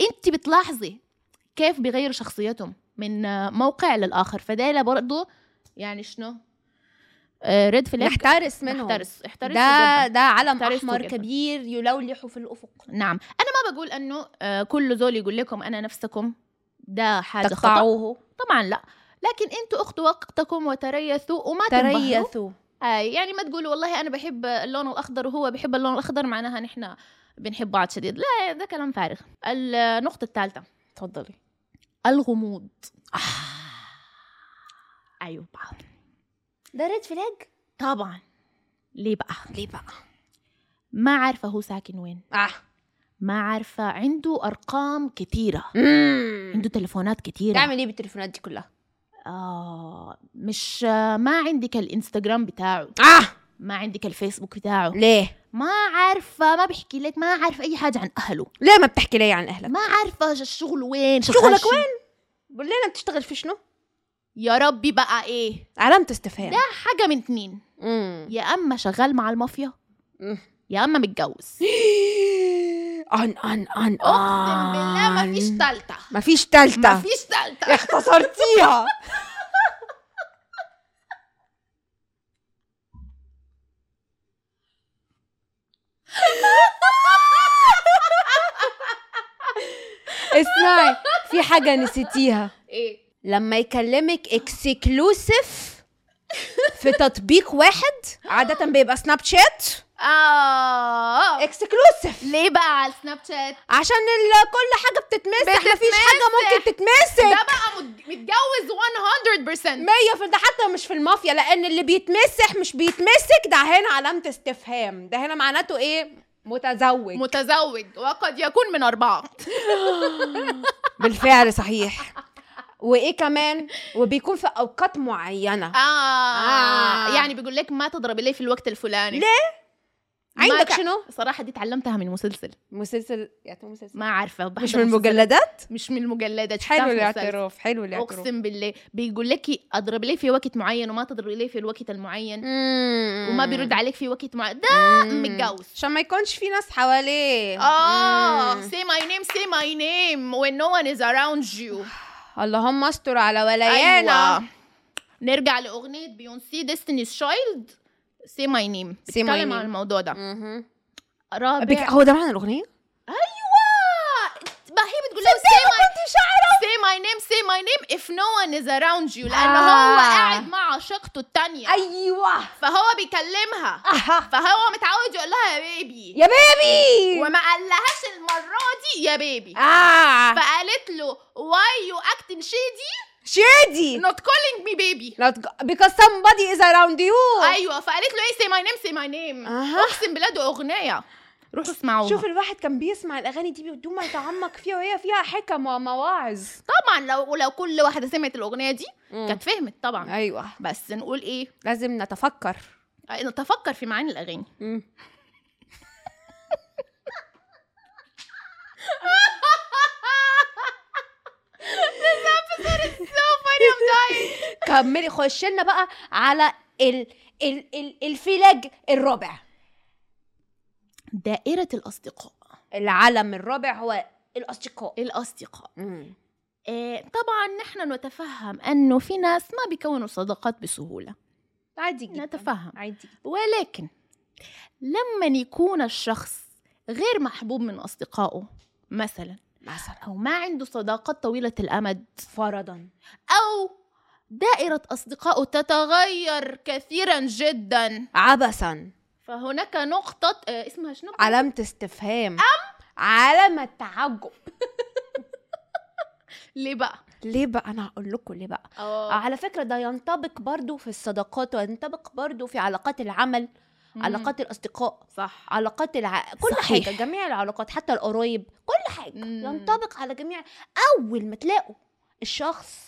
A: انت بتلاحظي كيف بيغيروا شخصيتهم من آه، موقع للاخر فده برضه يعني شنو ريد فلاج
B: نحترس منهم
A: احترس احترس
B: ده ده علم
A: احترسوا
B: احمر
A: جداً.
B: كبير يلولح في الافق
A: نعم انا ما بقول انه آه، كل زول يقول لكم انا نفسكم ده حاجه خطا
B: تقطعوه
A: طبعا لا لكن انتوا اخذوا وقتكم وتريثوا وما تريث
B: تريثوا
A: يعني ما تقولوا والله انا بحب اللون الاخضر وهو بحب اللون الاخضر معناها نحن بنحب بعض شديد لا ده كلام فارغ النقطه الثالثه
B: اتفضلي
A: الغموض آه. ايوه بقى
B: ده ريد فلاج
A: طبعا ليه بقى
B: ليه بقى
A: ما عارفه هو ساكن وين
B: اه
A: ما عارفه عنده ارقام كتيره
B: مم.
A: عنده تلفونات كتيره
B: تعمل ايه بالتليفونات دي كلها
A: آه مش ما عندك الانستغرام بتاعه
B: اه
A: ما عندك الفيسبوك بتاعه
B: ليه
A: ما عارفة ما بيحكي لك ما عارفة أي حاجة عن أهله
B: ليه ما بتحكي لي عن اهلك
A: ما عارفة الشغل وين شغال
B: شغلك
A: شو.
B: وين بالليل بتشتغل في شنو
A: يا ربي بقى إيه
B: علامة استفهام
A: ده حاجة من اتنين
B: مم.
A: يا أما شغال مع المافيا
B: مم.
A: يا أما متجوز
B: ان ان ان
A: أقسم بالله ما فيش تالتة
B: ما فيش تالتة
A: ما فيش تالتة
B: اختصرتيها اسمعي في حاجة نسيتيها
A: إيه
B: لما يكلمك اكسكلوسيف في تطبيق واحد عادة بيبقى سناب شات إيه؟
A: آه
B: اكسكلوسيف
A: ليه بقى على سناب شات
B: عشان ال- كل حاجة بتتمسح مفيش حاجة ممكن تتمسح
A: ده بقى مت- متجوز 100%
B: مية في ده حتى مش في المافيا لان اللي بيتمسح مش بيتمسك ده هنا علامة استفهام ده هنا معناته ايه متزوج
A: متزوج وقد يكون من أربعة
B: بالفعل صحيح وايه كمان وبيكون في اوقات معينة
A: آه.
B: آه.
A: يعني بيقول لك ما تضربي ليه في الوقت الفلاني
B: ليه؟
A: ما
B: عندك
A: تع-
B: شنو؟
A: صراحة دي اتعلمتها من مسلسل
B: مسلسل يعتبر مسلسل
A: ما عارفة بحضر
B: مش من
A: مسلسل-
B: المجلدات
A: مش من المجلدات شفتها
B: حلو
A: في مسلسل.
B: الاعتراف حلو الاعتراف
A: أقسم بالله بيقول لك أضرب ليه في وقت معين وما تضربي ليه في الوقت المعين وما بيرد عليك في وقت معين ده متجوز.
B: عشان ما يكونش في ناس حواليه
A: اه
B: مم.
A: say my name say my name when no one is around
B: آه.
A: you
B: اللهم استر على ولايانا
A: أيوة. نرجع لأغنية بيونسي ديستنيز شايلد say my name
B: my
A: بتتكلم عن
B: name.
A: الموضوع ده
B: مهم.
A: رابع
B: بك... هو ده معنى الاغنيه؟
A: ايوه ما هي بتقول له say my say my name say my name if no one is around you لانه
B: آه.
A: هو قاعد مع عشيقته التانية
B: ايوه
A: فهو بيكلمها
B: اها
A: فهو متعود يقول لها يا بيبي
B: يا بيبي
A: وما قالهاش المرة دي يا بيبي
B: اه
A: فقالت له why you acting shady
B: شادي
A: not calling me baby
B: not go- because somebody is around you
A: ايوه فقالت له ايه say my name say my name
B: أها.
A: اقسم بالله دي اغنية روحوا اسمعوها
B: شوف الواحد كان بيسمع الاغاني دي بدون ما يتعمق فيها وهي فيها حكم ومواعظ
A: طبعا لو لو كل واحدة سمعت الاغنية دي كانت فهمت طبعا
B: ايوه
A: بس نقول ايه
B: لازم نتفكر
A: نتفكر في معاني الاغاني I'm dying.
B: كملي خش لنا بقى على ال ال ال الفلاج الرابع
A: دائرة الأصدقاء
B: العلم الرابع هو الاصدقاء
A: الأصدقاء إيه، طبعا نحن نتفهم أنه في ناس ما بيكونوا صداقات بسهولة
B: عادي جدا
A: نتفهم
B: عادي جدا.
A: ولكن لما يكون الشخص غير محبوب من أصدقائه مثلا
B: مثلا
A: أو ما عنده صداقات طويلة الأمد
B: فرضا
A: أو دائرة أصدقائه تتغير كثيرا جدا
B: عبثا
A: فهناك نقطة آه، اسمها شنو؟
B: علامة استفهام أم علامة تعجب
A: ليه بقى؟
B: ليه بقى انا هقول لكم ليه بقى على فكرة ده ينطبق برضو في الصداقات وينطبق برضو في علاقات العمل
A: مم.
B: علاقات الأصدقاء
A: صح
B: علاقات الع... كل
A: صحيح.
B: حاجة جميع العلاقات حتى القرايب كل حاجة
A: مم.
B: ينطبق على جميع أول ما تلاقوا الشخص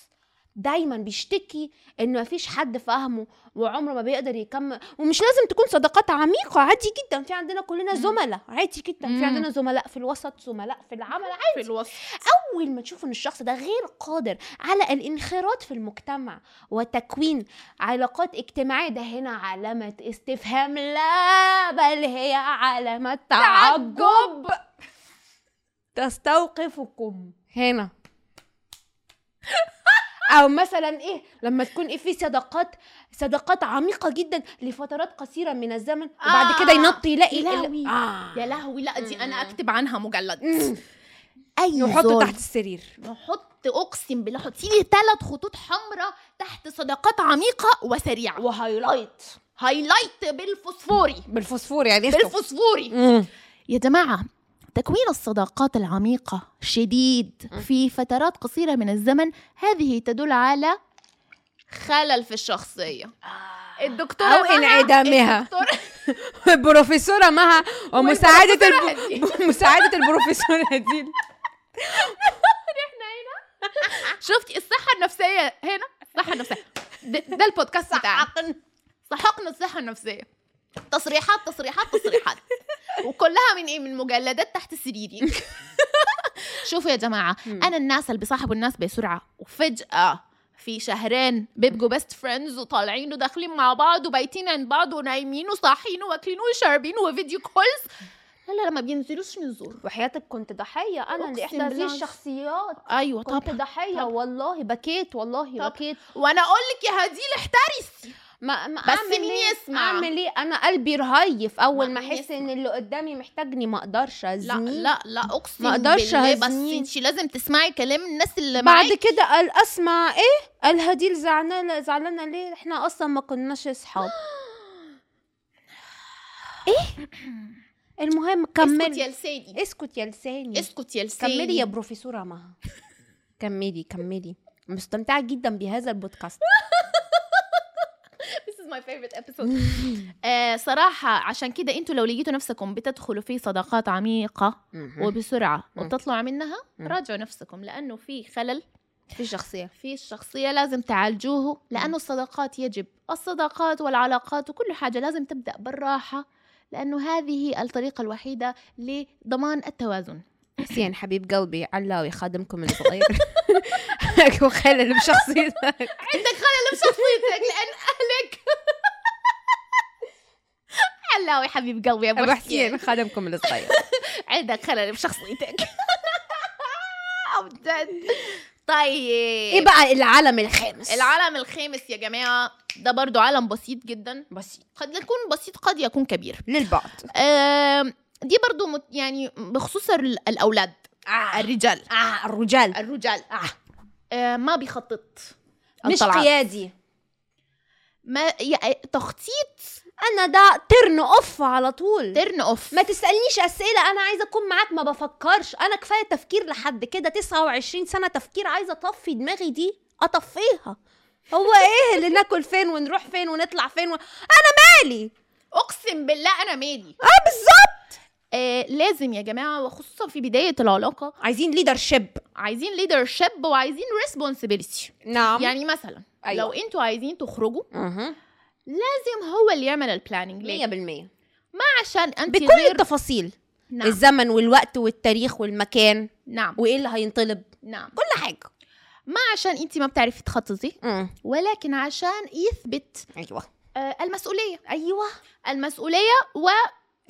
B: دايما بيشتكي انه مفيش حد فاهمه وعمره ما بيقدر يكمل ومش لازم تكون صداقات عميقه عادي جدا في عندنا كلنا
A: مم.
B: زملاء عادي جدا
A: مم.
B: في عندنا زملاء في الوسط زملاء في العمل
A: في الوصف
B: اول ما تشوف ان الشخص ده غير قادر على الانخراط في المجتمع وتكوين علاقات اجتماعيه ده هنا علامه استفهام لا بل هي علامه تعجب تستوقفكم هنا او مثلا ايه لما تكون ايه في صداقات صداقات عميقه جدا لفترات قصيره من الزمن وبعد
A: آه.
B: كده ينط يلاقي
A: يا لهوي.
B: آه.
A: يا لهوي لا دي انا
B: مم.
A: اكتب عنها مجلد
B: مم.
A: اي
B: يحطه
A: زول.
B: تحت السرير
A: نحط اقسم بالله حطي لي ثلاث خطوط حمراء تحت صداقات عميقه وسريعه
B: وهايلايت
A: هايلايت بالفوسفوري
B: بالفوسفور يعني
A: بالفوسفوري
B: مم.
A: يا جماعه تكوين الصداقات العميقه شديد
B: مم.
A: في فترات قصيره من الزمن هذه تدل على خلل في الشخصيه الدكتوره
B: أو
A: مها-
B: انعدامها.
A: الدكتورة-
B: البروفيسورة مها ومساعدة الب...
A: والبروفيسورة
B: مساعدة البروفيسورة دي
A: شفتي الصحه النفسيه هنا الصحه النفسيه ده, ده البودكاست بتاعنا سحقنا الصحة النفسية تصريحات تصريحات تصريحات وكلها من ايه من مجلدات تحت سريري شوفوا يا جماعة
B: مم.
A: أنا الناس اللي بيصاحبوا الناس بسرعة وفجأة في شهرين بيبقوا بيست فريندز وطالعين وداخلين مع بعض وبايتين عند بعض ونايمين وصاحيين واكلين وشاربين وفيديو كولز لا لا لا ما بينزلوش من زور
B: وحياتك كنت ضحية أنا
A: أقسم
B: لإحدى هذه
A: بالله.
B: الشخصيات
A: ايوه
B: كنت
A: طبعا
B: ضحية
A: طبعاً.
B: والله بكيت والله
A: طبعاً.
B: بكيت
A: وانا اقول لك يا هديل احترسي
B: ما ما
A: بس مين يسمع؟
B: أعمل إيه أنا قلبي رهيف أول
A: ما
B: ما
A: مين
B: أحس
A: يسمع؟
B: إن اللي قدامي محتاجني ما أقدرش
A: لا
B: أزنيه
A: لا لا اقسم
B: ما أقدرش
A: بالله بس
B: هزنين.
A: انت لازم تسمعي كلام الناس اللي معاكي
B: بعد كده قال أسمع إيه قال هديل زعلانة زعلانة ليه إحنا أصلا ما كناش أصحاب إيه المهم
A: اسكت
B: كمل
A: يا لساني
B: اسكت يا لساني
A: اسكت يا لساني
B: كملي يا بروفيسورة مها كملي كملي مستمتعة جدا بهذا البودكاست
A: This is my favorite episode. آه صراحة عشان كده انتوا لو لقيتوا نفسكم بتدخلوا في صداقات عميقة وبسرعة
B: مم.
A: وبتطلعوا منها
B: مم.
A: راجعوا نفسكم لأنه في خلل
B: في شخصية
A: في الشخصية لازم تعالجوه لأنه الصداقات يجب الصداقات والعلاقات وكل حاجة لازم تبدأ بالراحة لأنه هذه الطريقة الوحيدة لضمان التوازن
B: حسين حبيب قلبي علاوي خادمكم الصغير وخلل بشخصيتك
A: عندك خلل بشخصيتك لأن أهلك علاوي حبيب قلبي يا
B: ابو حسين خادمكم الصغير
A: عندك خلل بشخصيتك أبداً. طيب
B: ايه بقى العالم الخامس
A: العلم الخامس يا جماعة ده برضو علم بسيط جدا
B: بسيط
A: قد يكون بسيط قد يكون كبير
B: للبعض
A: آم، دي برضو مت- يعني بخصوص ال- الأولاد الرجال
B: آه الرجال
A: الرجال
B: آه.
A: آه، ما بيخطط
B: مش
A: الطلعات.
B: قيادي
A: ما يا- تخطيط
B: انا ده ترن اوف على طول
A: ترن اوف
B: ما تسالنيش اسئله انا عايزه اكون معاك ما بفكرش انا كفايه تفكير لحد كده 29 سنه تفكير عايزه اطفي دماغي دي اطفيها هو ايه اللي ناكل فين ونروح فين ونطلع فين و... انا مالي
A: اقسم بالله انا مالي
B: اه بالظبط
A: آه لازم يا جماعه وخصوصا في بدايه العلاقه
B: عايزين ليدر شيب
A: عايزين ليدرشيب وعايزين ريسبونسبيلتي
B: نعم يعني
A: يعني مثلا أيوة.
B: أيوة.
A: لو انتوا عايزين تخرجوا
B: اها
A: لازم هو اللي يعمل البلاننج ليه
B: 100%
A: عشان انت
B: بكل
A: غير
B: التفاصيل
A: نعم
B: الزمن والوقت والتاريخ والمكان
A: نعم
B: وايه اللي هينطلب
A: نعم
B: كل حاجه
A: ما عشان انت ما بتعرفي تخططي
B: امم
A: ولكن عشان يثبت
B: ايوه
A: آه المسؤوليه
B: ايوه
A: المسؤوليه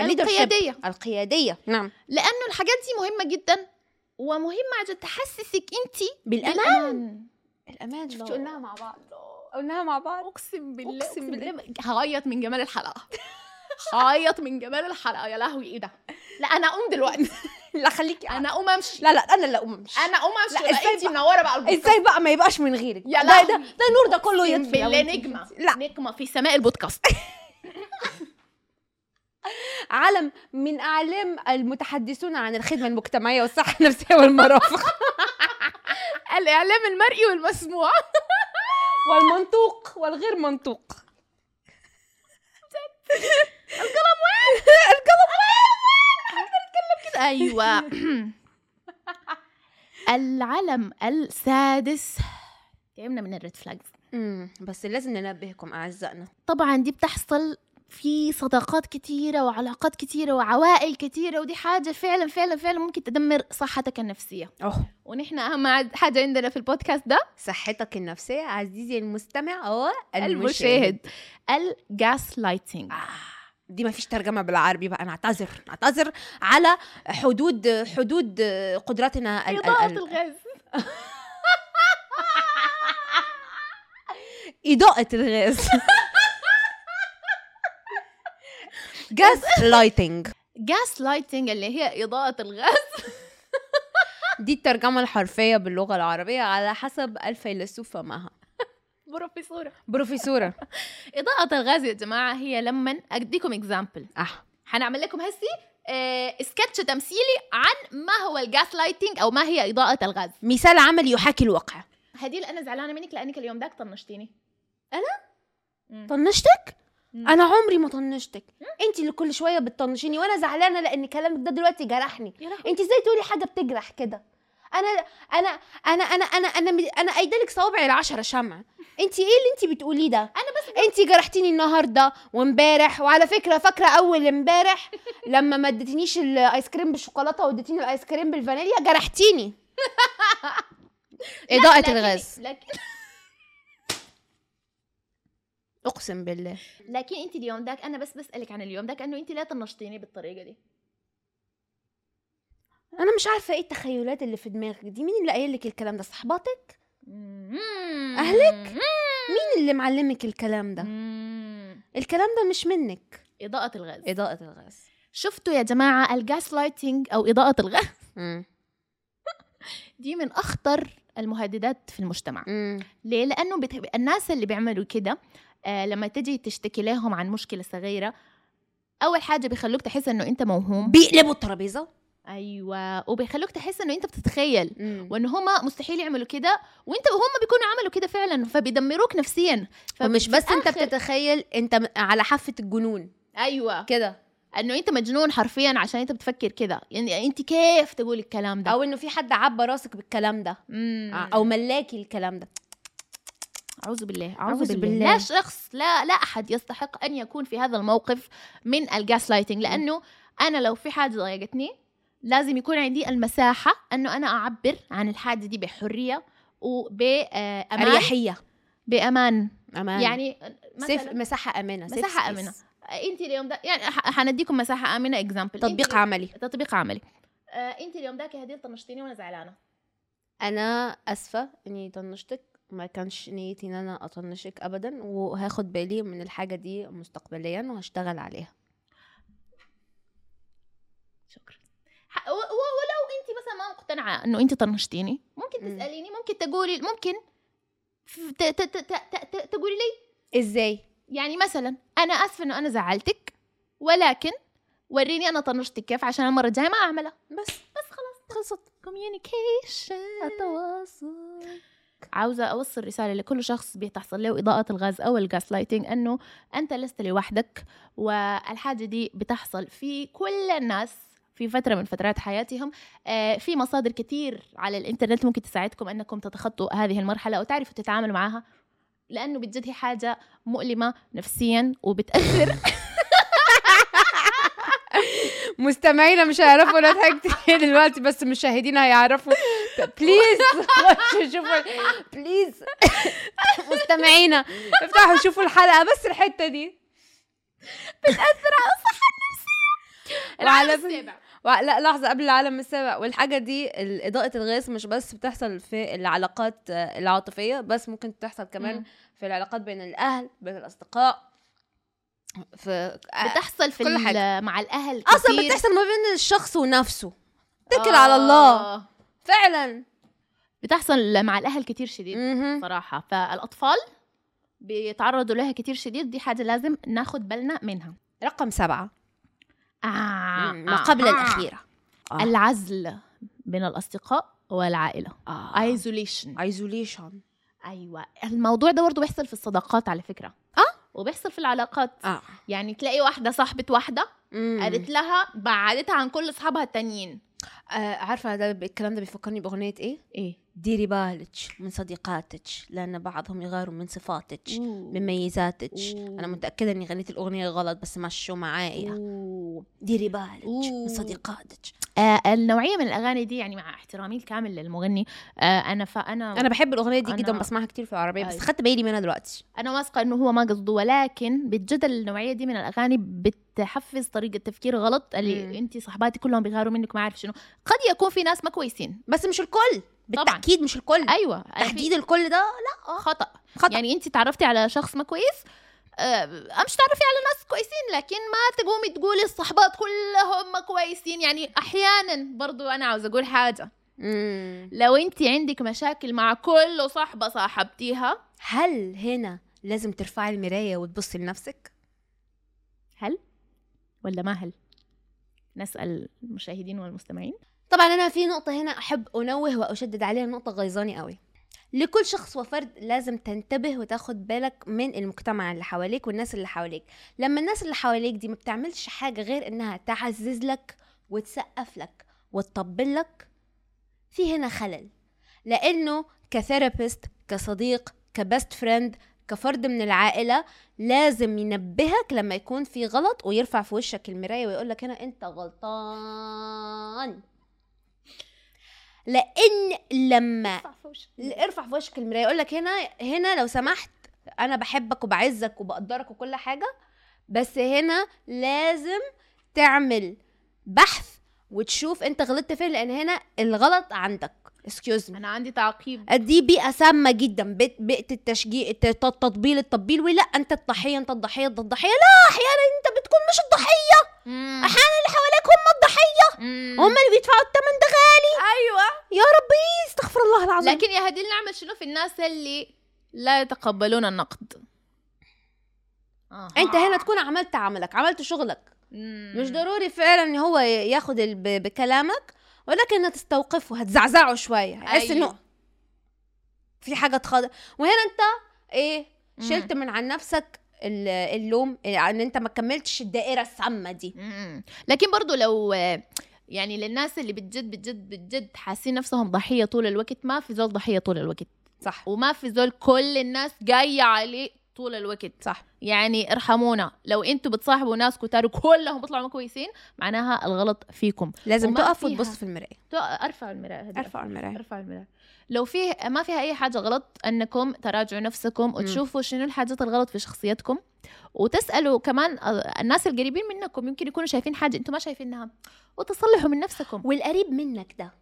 B: الليدرشيب.
A: والقياديه
B: القياديه نعم
A: لانه الحاجات دي مهمه جدا ومهم عن جد تحسسك انت
B: بالامان
A: بالامان
B: الامان شفتي
A: الله.
B: قلناها مع بعض قلناها مع بعض
A: اقسم بالله
B: أقسم
A: اقسم
B: بالله.
A: بالله هعيط من جمال الحلقه هعيط من جمال الحلقه يا لهوي ايه ده لا انا اقوم دلوقتي
B: لا خليكي
A: انا اقوم امشي
B: لا لا انا اللي امشي
A: انا اقوم
B: لا،
A: امشي لا
B: إزاي
A: انت
B: بقى؟
A: منوره بقى البودكاست
B: ازاي بقى ما يبقاش من غيرك
A: يا
B: ده ده
A: لهوي.
B: ده النور ده كله
A: أقسم
B: يطفي لو
A: بالله
B: أنت
A: نجمه
B: كنتي- لا
A: نجمه في سماء البودكاست
B: علم من اعلام المتحدثون عن الخدمه المجتمعيه والصحه النفسيه والمرافق
A: الاعلام المرئي والمسموع
B: والمنطوق والغير منطوق
A: ايوه العلم السادس تعبنا من الريد فلاجز
B: امم بس لازم ننبهكم اعزائنا
A: طبعا دي بتحصل في صداقات كتيرة وعلاقات كتيرة وعوائل كتيرة ودي حاجة فعلا فعلا فعلا ممكن تدمر صحتك النفسية
B: اوه
A: ونحن أهم عد- حاجة عندنا في البودكاست ده
B: صحتك النفسيه عزيزي المستمع والمشاهد آه،
A: المشاهد الجاس لايتنج
B: دي ما فيش ترجمه بالعربي بقى نعتذر نعتذر على حدود حدود قدرتنا ال-
A: إضاءة
B: ال- ال-
A: الغاز
B: إضاءة الغاز جاز لايتنج
A: جاس لايتنج اللي هي إضاءة الغاز
B: دي الترجمة الحرفية باللغة العربية على حسب الفيلسوفة مها
A: بروفيسورة
B: بروفيسورة
A: إضاءة الغاز يا جماعة هي لما أديكم اكزامبل
B: اه
A: هنعمل لكم هسي آه، سكتش تمثيلي عن ما هو الجاس لايتنج أو ما هي إضاءة الغاز
B: مثال عملي يحاكي الواقع
A: هديل انا زعلانه منك لانك اليوم داك طنشتيني
B: طيب،
A: انا
B: طنشتك؟
A: مم.
B: أنا عمري ما طنشتك أنت اللي كل شوية بتطنشيني وأنا زعلانة لأن كلامك ده دلوقتي جرحني
A: يا لهوي
B: أنت إزاي تقولي حاجة بتجرح كده؟ أنا أنا أنا أنا أنا أنا أنا أيدالك صوابعي العشرة شمع أنت إيه اللي أنت بتقوليه ده؟
A: انا بس
B: انت جرحتيني النهارده وامبارح وعلى فكره فاكره اول امبارح لما ما اديتنيش الايس كريم بالشوكولاته واديتيني الايس كريم بالفانيليا جرحتيني اضاءه
A: لكن-
B: الغاز
A: لكن
B: اقسم بالله
A: لكن انت اليوم داك انا بس بسالك عن اليوم داك انه انت لا طنشتيني بالطريقه دي
B: انا مش عارفه ايه التخيلات اللي في دماغك دي مين اللي قايل لك الكلام ده صحباتك أهلك؟ مين اللي معلمك الكلام ده
A: مم.
B: الكلام ده مش منك
A: اضاءه الغاز
B: اضاءه الغاز
A: شفتوا يا جماعه الجاس لايتنج او اضاءه الغاز
B: امم
A: دي من اخطر المهددات في المجتمع ليه؟ لأنه بت... الناس اللي بيعملوا كده آه لما تجي تشتكي لهم عن مشكلة صغيرة أول حاجة بيخلوك تحس إنه أنت موهوم
B: بيقلبوا الترابيزه
A: أيوة وبيخلوك تحس إنه أنت بتتخيل
B: مم.
A: وإن هما مستحيل يعملوا كده وأنت وهم بيكونوا عملوا كده فعلا فبيدمروك نفسيا
B: ومش بس انت
A: آخر-
B: بتتخيل انت م- على حافه الجنون
A: أيوة
B: كده
A: إنه أنت مجنون حرفيا عشان أنت بتفكر كده يعني أنت كيف تقول الكلام ده
B: او انه في حد عبى راسك بالكلام ده
A: مم.
B: او آه، ملاكي الكلام ده
A: أعوذ بالله
B: أعوذ
A: أعوذ بالله.
B: بالله.
A: لا شخص لا لا أحد يستحق أن يكون في هذا الموقف من الجاس لايتنج لأنه أنا لو في حاجة ضايقتني لازم يكون عندي المساحة أنه أنا أعبر عن الحاجة دي بحرية وبأمان
B: اريحيه
A: بأمان
B: امان يعني
A: يعني
B: سيف
A: مثلا
B: مساحه امنه safe
A: مساحة
B: space.
A: آمنة. أنت اليوم ده يعني ح- حنديكم مساحة آمنة إكزامبل
B: تطبيق عملي
A: تطبيق عملي آه، أنت اليوم ده كهديل طنشتيني وأنا زعلانة
B: انا اسفه اني طنشتك ما كانش نيتي ان انا اطنشك ابدا وهاخد بالي من الحاجه دي مستقبليا وهشتغل عليها
A: شكرا ح- و- و- ولو انت مثلا ما مقتنعه انه انت طنشتيني ممكن
B: مم.
A: تساليني ممكن تقولي ممكن ف- ت- ت- ت- ت- ت- ت- تقولي لي
B: ازاي
A: يعني مثلا انا اسفه انه انا زعلتك ولكن وريني انا طنشتك كيف عشان المره الجايه ما اعملها
B: بس
A: بس خلاص خلصت كوميونيكيشن
B: اتواصل
A: عاوزه اوصل رساله لكل شخص بتحصل له اضاءه الغاز او الجاس لايتنج انه انت لست لوحدك والحاجه دي بتحصل في كل الناس في فتره من فترات حياتهم آه، في مصادر كتير على الانترنت ممكن تساعدكم انكم تتخطوا هذه المرحله وتعرفوا تتعاملوا معها لانه بجد هي حاجه مؤلمه نفسيا وبتاثر
B: مستمعينا مش هيعرفوا انا ضحكت ليه دلوقتي بس مشاهدينا هيعرفوا بليز خشوا شوفوا بليز مستمعينا افتحوا شوفوا الحلقه بس الحته دي بتاثر على الصحه النفسيه وعلى
A: العالم السابع.
B: وع- لا لحظه قبل العالم السابع والحاجه دي ال- اضاءه الغاز مش بس بتحصل في العلاقات آه، العاطفيه بس ممكن تحصل كمان
A: مم.
B: في العلاقات بين الاهل بين الاصدقاء في
A: بتحصل في
B: آه، كل
A: ال-
B: حاجة.
A: مع الاهل كتير
B: اصلا بتحصل ما بين الشخص ونفسه اتكل على الله
A: آه.
B: فعلا
A: بتحصل مع الاهل كتير شديد
B: مهم.
A: صراحه فالاطفال بيتعرضوا لها كتير شديد دي حاجه لازم ناخد بالنا منها
B: رقم سبعة
A: آه.
B: ما قبل
A: آه.
B: الأخيرة آه.
A: العزل بين الاصدقاء والعائله
B: آه.
A: ايزوليشن
B: ايزوليشن
A: ايوه الموضوع ده برضه بيحصل في الصداقات على فكره
B: آه؟
A: اه وبيحصل في العلاقات
B: اه
A: يعني تلاقي واحده صاحبه واحده
B: مم.
A: قالت لها بعدتها عن كل اصحابها التانيين
B: آه عارفة ده ب- الكلام ده بيفكرني بأغنية إيه؟
A: ايه
B: ديري بالك من صديقاتك لأن بعضهم يغاروا من صفاتك مميزاتك
A: أوه.
B: أنا متأكدة إني غنيت الأغنية غلط بس مشوا معايا ديري بالك من
A: أوه.
B: صديقاتك
A: آه النوعيه من الاغاني دي يعني مع احترامي الكامل للمغني آه انا فانا
B: أنا أيوه. بحب الأغنية دي
A: أنا-
B: جدا بسمعها كتير في العربية بس
A: أيوة.
B: خدت بالي منها دلوقتي
A: انا واثقه انه هو ما قصده ولكن بالجدل النوعيه دي من الاغاني بتحفز طريقه تفكير غلط
B: مم.
A: اللي انت صاحباتي كلهم بيغاروا منك ما عارف شنو قد يكون في ناس ما كويسين
B: بس مش الكل بالتأكيد مش الكل
A: ايوه أنا في
B: تحديد الكل ده
A: خطا
B: خطأ
A: يعني انت تعرفتي على شخص ما كويس آه، مش تعرفي على ناس كويسين لكن ما تقومي تقولي الصحبات كلهم ما كويسين يعني احيانا برضو انا عاوز اقول حاجه
B: مم.
A: لو انت عندك مشاكل مع كل صاحبه صاحبتيها
B: هل هنا لازم ترفعي المراية وتبصي لنفسك؟
A: هل ولا ما هل نسال المشاهدين والمستمعين
B: طبعا انا في نقطه هنا احب انوه واشدد عليها نقطه غيظاني قوي لكل شخص وفرد لازم تنتبه وتاخد بالك من المجتمع اللي حواليك والناس اللي حواليك لما الناس اللي حواليك دي ما بتعملش حاجه غير انها تعزز لك وتسقف لك وتطبل لك في هنا خلل لانه كثيرابيست كصديق كبست فريند كفرد من العائله لازم ينبهك لما يكون في غلط ويرفع في وشك المرايه ويقول لك هنا انت غلطان لان لما ارفع في وشك المرايه يقول لك هنا هنا لو سمحت انا بحبك وبعزك وبقدرك وكل حاجه بس هنا لازم تعمل بحث وتشوف انت غلطت فين لان هنا الغلط عندك اكسكيوز
A: انا عندي تعقيب
B: دي بيئه سامه جدا بيئه بيئه التشجيع الت- التطبيل التطبيل ولا انت الضحيه انت الضحيه انت الضحيه لا احيانا انت بتكون مش الضحيه احيانا اللي حواليك هم الضحيه هم اللي بيدفعوا الثمن ده غالي
A: ايوه
B: يا ربي استغفر الله العظيم
A: لكن يا هديل نعمل شنو في الناس اللي لا يتقبلون النقد آه.
B: انت هنا تكون عملت عملك عملت شغلك مش
A: مش
B: ضروري فعلا ان هو ياخد ال- ب- بكلامك ولكن تستوقفه هتزعزعه شويه هيحس
A: أيوة.
B: انه في حاجه تخاض وهنا انت ايه شلت من عن نفسك ال- اللوم إيه، ان انت ما كملتش الدائره السامه دي
A: مم. لكن برضو لو يعني للناس اللي بتجد بتجد بتجد حاسين نفسهم ضحيه طول الوقت ما في زول ضحيه طول الوقت
B: صح
A: وما في زول كل الناس جايه عليه طول الوقت
B: صح
A: يعني ارحمونا لو انتوا بتصاحبوا ناس كتار كلهم بيطلعوا ما كويسين معناها الغلط فيكم
B: لازم
A: وما
B: تقف
A: فيها.
B: وتبص في المرايه
A: تو- ارفعوا المرايه هدي،
B: ارفع المرايه
A: ارفعوا المرايه لو فيه ما فيها اي حاجه غلط انكم تراجعوا نفسكم وتشوفوا شنو الحاجات الغلط في شخصيتكم وتسالوا كمان ال- الناس القريبين منكم يمكن يكونوا شايفين حاجه انتم ما شايفينها وتصلحوا من نفسكم
B: والقريب منك ده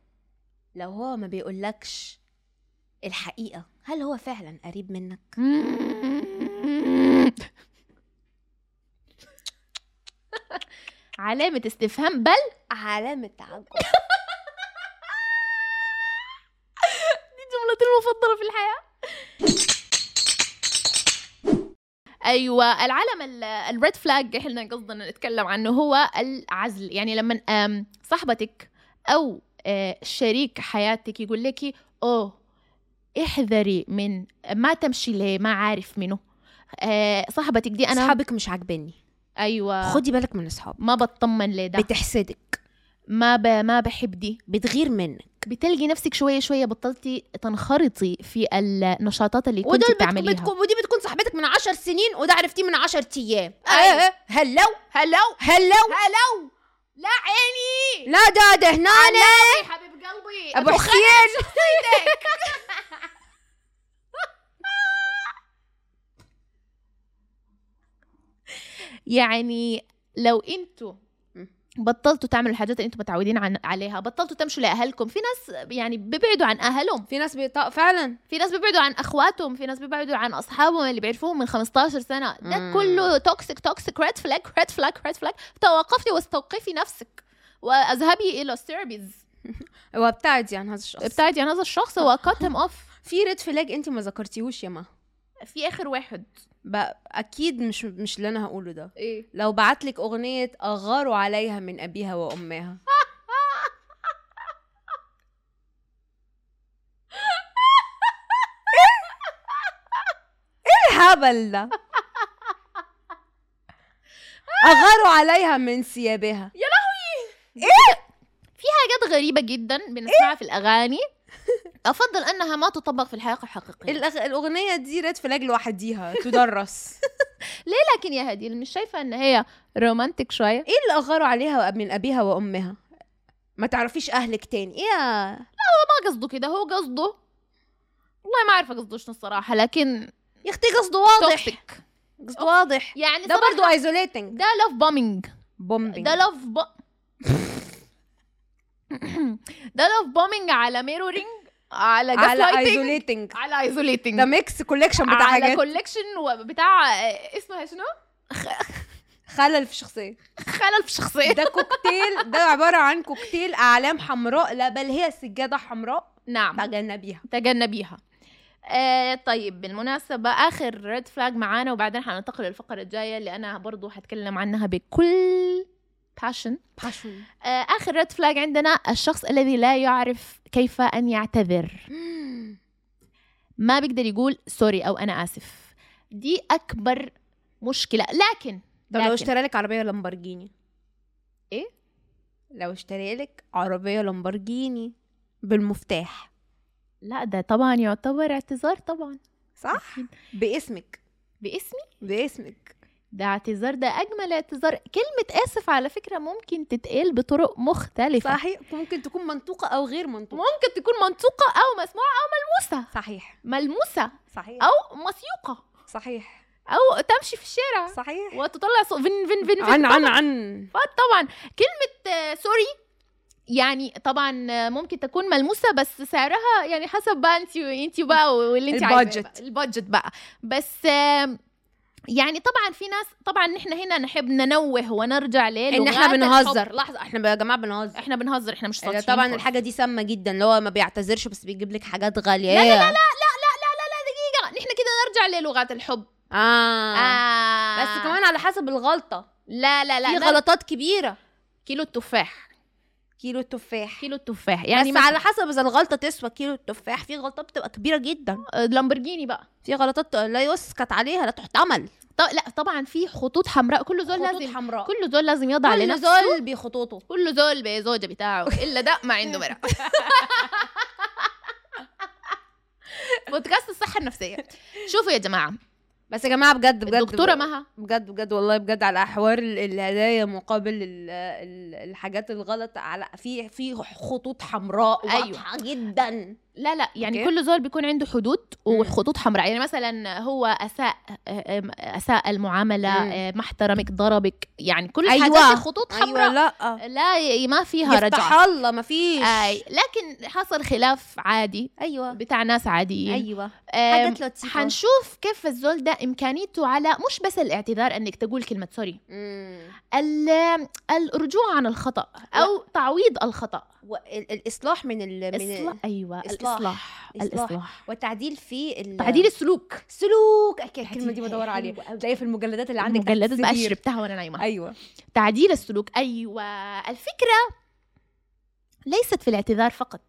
B: لو هو ما بيقولكش الحقيقه هل هو فعلا قريب منك
A: علامة استفهام بل
B: علامه تعجب
A: دي جملتي المفضلة في الحياة ايوه العلم الريد فلاج احنا قصدنا نتكلم عنه هو العزل يعني لما آم، صاحبتك او آه، شريك حياتك يقول لك اوه احذري من ما تمشي ليه ما عارف منه آه، صاحبتك دي انا
B: اصحابك مش عاجبني
A: ايوه
B: خدي بالك من اصحابك
A: ما بطمن لده
B: بتحسدك
A: ما ب... ما بحب دي
B: بتغير منك
A: بتلقي نفسك شويه شويه بطلتي تنخرطي في النشاطات اللي كنت
B: ودول بتكون,
A: بتعمليها
B: بتكون ودي بتكون صاحبتك من عشر سنين وده عرفتيه من عشر ايام
A: أيوة.
B: آه، هلو هلو هلو
A: هلو لا عيني
B: لا ده ده هنا
A: علي حبيب قلبي
B: ابو
A: أنت
B: حسين
A: يعني لو انتوا
B: مم.
A: بطلتوا تعملوا الحاجات اللي انتم متعودين عن عليها بطلتوا تمشوا لاهلكم في ناس يعني بيبعدوا عن اهلهم
B: في ناس بيطاق فعلا
A: في ناس بيبعدوا عن اخواتهم في ناس بيبعدوا عن اصحابهم اللي بيعرفوهم من 15 سنه ده
B: مم.
A: كله توكسيك توكسيك ريد فلاج ريد فلاج ريد فلاج توقفي واستوقفي نفسك واذهبي الى الثيرابيز
B: وابتعدي عن يعني هذا الشخص
A: ابتعدي عن هذا الشخص وكات هيم اوف
B: في ريد فلاج انت ما ذكرتيهوش يا ما
A: في اخر واحد
B: بقى اكيد مش مش اللي انا هقوله ده
A: ايه
B: لو بعتلك اغنيه اغاروا عليها من ابيها وامها ايه الهبل ده اغاروا عليها من ثيابها
A: حاجات غريبه جدا بنسمعها في الاغاني افضل انها ما تطبق في الحياه الحقيقيه
B: الأغ... الاغنيه دي ريد فلاج لوحديها تدرس
A: لكن يا هديل مش شايفه ان هي رومانتك شويه
B: ايه اللي اغاروا عليها من ابيها وامها ما تعرفيش اهلك تاني ايه يا-
A: ما قصده كده هو قصده والله ما عارفه قصده شنو الصراحه لكن
B: يا اختي قصده واضح
A: توكسيك
B: قصده واضح
A: يعني
B: ده
A: صراحة
B: برضه ايزوليتنج
A: ده لاف بومينج
B: بومبينج
A: ده لاف ب... ده لاف بومينج على ميرورينج على
B: على
A: gaslighting
B: ايزوليتنج
A: على ايزوليتنج
B: ده ميكس كوليكشن بتاع
A: على
B: حاجات
A: كولكشن بتاع اسمها شنو؟
B: خلل في الشخصيه
A: خلل في الشخصيه
B: ده كوكتيل ده عباره عن كوكتيل اعلام حمراء لا بل هي سجاده حمراء
A: نعم
B: تجنبيها
A: تجنبيها آه طيب بالمناسبة آخر ريد فلاج معانا وبعدين حننتقل للفقرة الجاية اللي أنا برضو هتكلم عنها بكل باشن
B: باشون
A: آه آخر ريد فلاج عندنا الشخص الذي لا يعرف كيف أن يعتذر ما بيقدر يقول سوري أو أنا آسف دي أكبر مشكلة لكن
B: طب لو
A: لكن-
B: اشترى لك عربيه لامبرجيني
A: إيه؟
B: لو اشترى لك عربيه لامبرجيني بالمفتاح
A: لا ده طبعا يعتبر اعتذار طبعا
B: صح باسمك
A: باسمي
B: باسمك
A: ده اعتذار ده أجمل اعتذار كلمة آسف على فكرة ممكن تتقال بطرق مختلفة
B: صحيح ممكن تكون منطوقه او غير منطوقه
A: ممكن تكون منطوقة أو مسموعة أو ملموسة
B: صحيح
A: ملموسة
B: صحيح
A: أو مسيوقة
B: صحيح
A: أو تمشي في الشارع
B: صحيح
A: وتطلع صو... فن فن فن فن
B: عن عن عن
A: طبعا كلمة آه، سوري يعني طبعا آه، ممكن تكون ملموسة بس سعرها يعني حسب بقى انت انت بقى واللي انت عايزاه بقى،
B: البادجت.
A: البادجت بقى بس آم، يعني طبعا في ناس طبعا نحن هنا نحب ننوه ونرجع ليه
B: ان احنا بنهزر لحظه احنا يا جماعه بنهزر
A: احنا بنهزر احنا مش
B: يعني
A: ساطحين
B: طبعا
A: خالص.
B: الحاجه دي سامه جدا اللي هو ما بيعتذرش بس بيجيب لك حاجات غاليه
A: لا لا لا لا لا لا لا لا لا دقيقة نحن كده نرجع للغات الحب
B: آه.
A: آه.
B: بس كمان على حسب الغلطه
A: لا لا لا
B: في
A: غلط
B: غلطات كبيره
A: كيلو التفاح
B: كيلو التفاح
A: كيلو التفاح يعني
B: يعني بس
A: مثلا
B: على حسب اذا الغلطه تسوى كيلو التفاح في غلطات بتبقى كبيره جدا
A: آه، لامبرجيني بقى
B: في غلطات لا يسكت عليها لا تحتمل
A: طب لا طبعا في خطوط حمراء كل زول
B: خطوط
A: لازم
B: حمراء
A: كل زول لازم يضع
B: كل
A: لنفسه
B: زول بخطوطه
A: كل زول بزوجة بتاعه الا ده ما عنده مرأة بودكاست الصحة النفسية شوفوا يا جماعة
B: بس يا جماعه بجد بجد
A: الدكتورة مها
B: بجد بجد والله بجد على احوار ال- الهدايا مقابل ال- ال- الحاجات الغلط على في في خطوط حمراء
A: أيوة.
B: واضحه جدا
A: لا لا يعني
B: أوكي.
A: كل زول بيكون عنده حدود
B: مم.
A: وخطوط حمراء يعني مثلا هو اساء أم- اساء المعامله
B: مم.
A: أم، ما احترمك ضربك يعني كل
B: أيوة.
A: الحاجات دي خطوط
B: ايوه
A: حمراء
B: لا
A: لا ي- ما فيها
B: يفتح
A: رجعه
B: الله مفيش
A: أي لكن حصل خلاف عادي
B: ايوه
A: بتاع ناس عاديين
B: ايوه
A: أم،
B: حاجات لطيفه
A: حنشوف كيف الزول ده امكانيته على مش بس الاعتذار انك تقول كلمه سوري
B: مم.
A: ال- الرجوع عن الخطا او تعويض الخطا
B: وال- الاصلاح من ال... من
A: إصلاح
B: ال...
A: ايوه
B: إصلاح.
A: الاصلاح
B: إصلاح.
A: الاصلاح
B: والتعديل في ال...
A: تعديل السلوك
B: سلوك أكيد الكلمه دي
A: تعديل
B: بدور
A: حلو
B: عليها
A: أوي.
B: تلاقيها في المجلدات اللي عندك تحت
A: المجلدات بقى
B: السرير.
A: شربتها وانا نايمه
B: ايوه
A: أيوة. تعديل السلوك ايوه الفكره ليست في الاعتذار فقط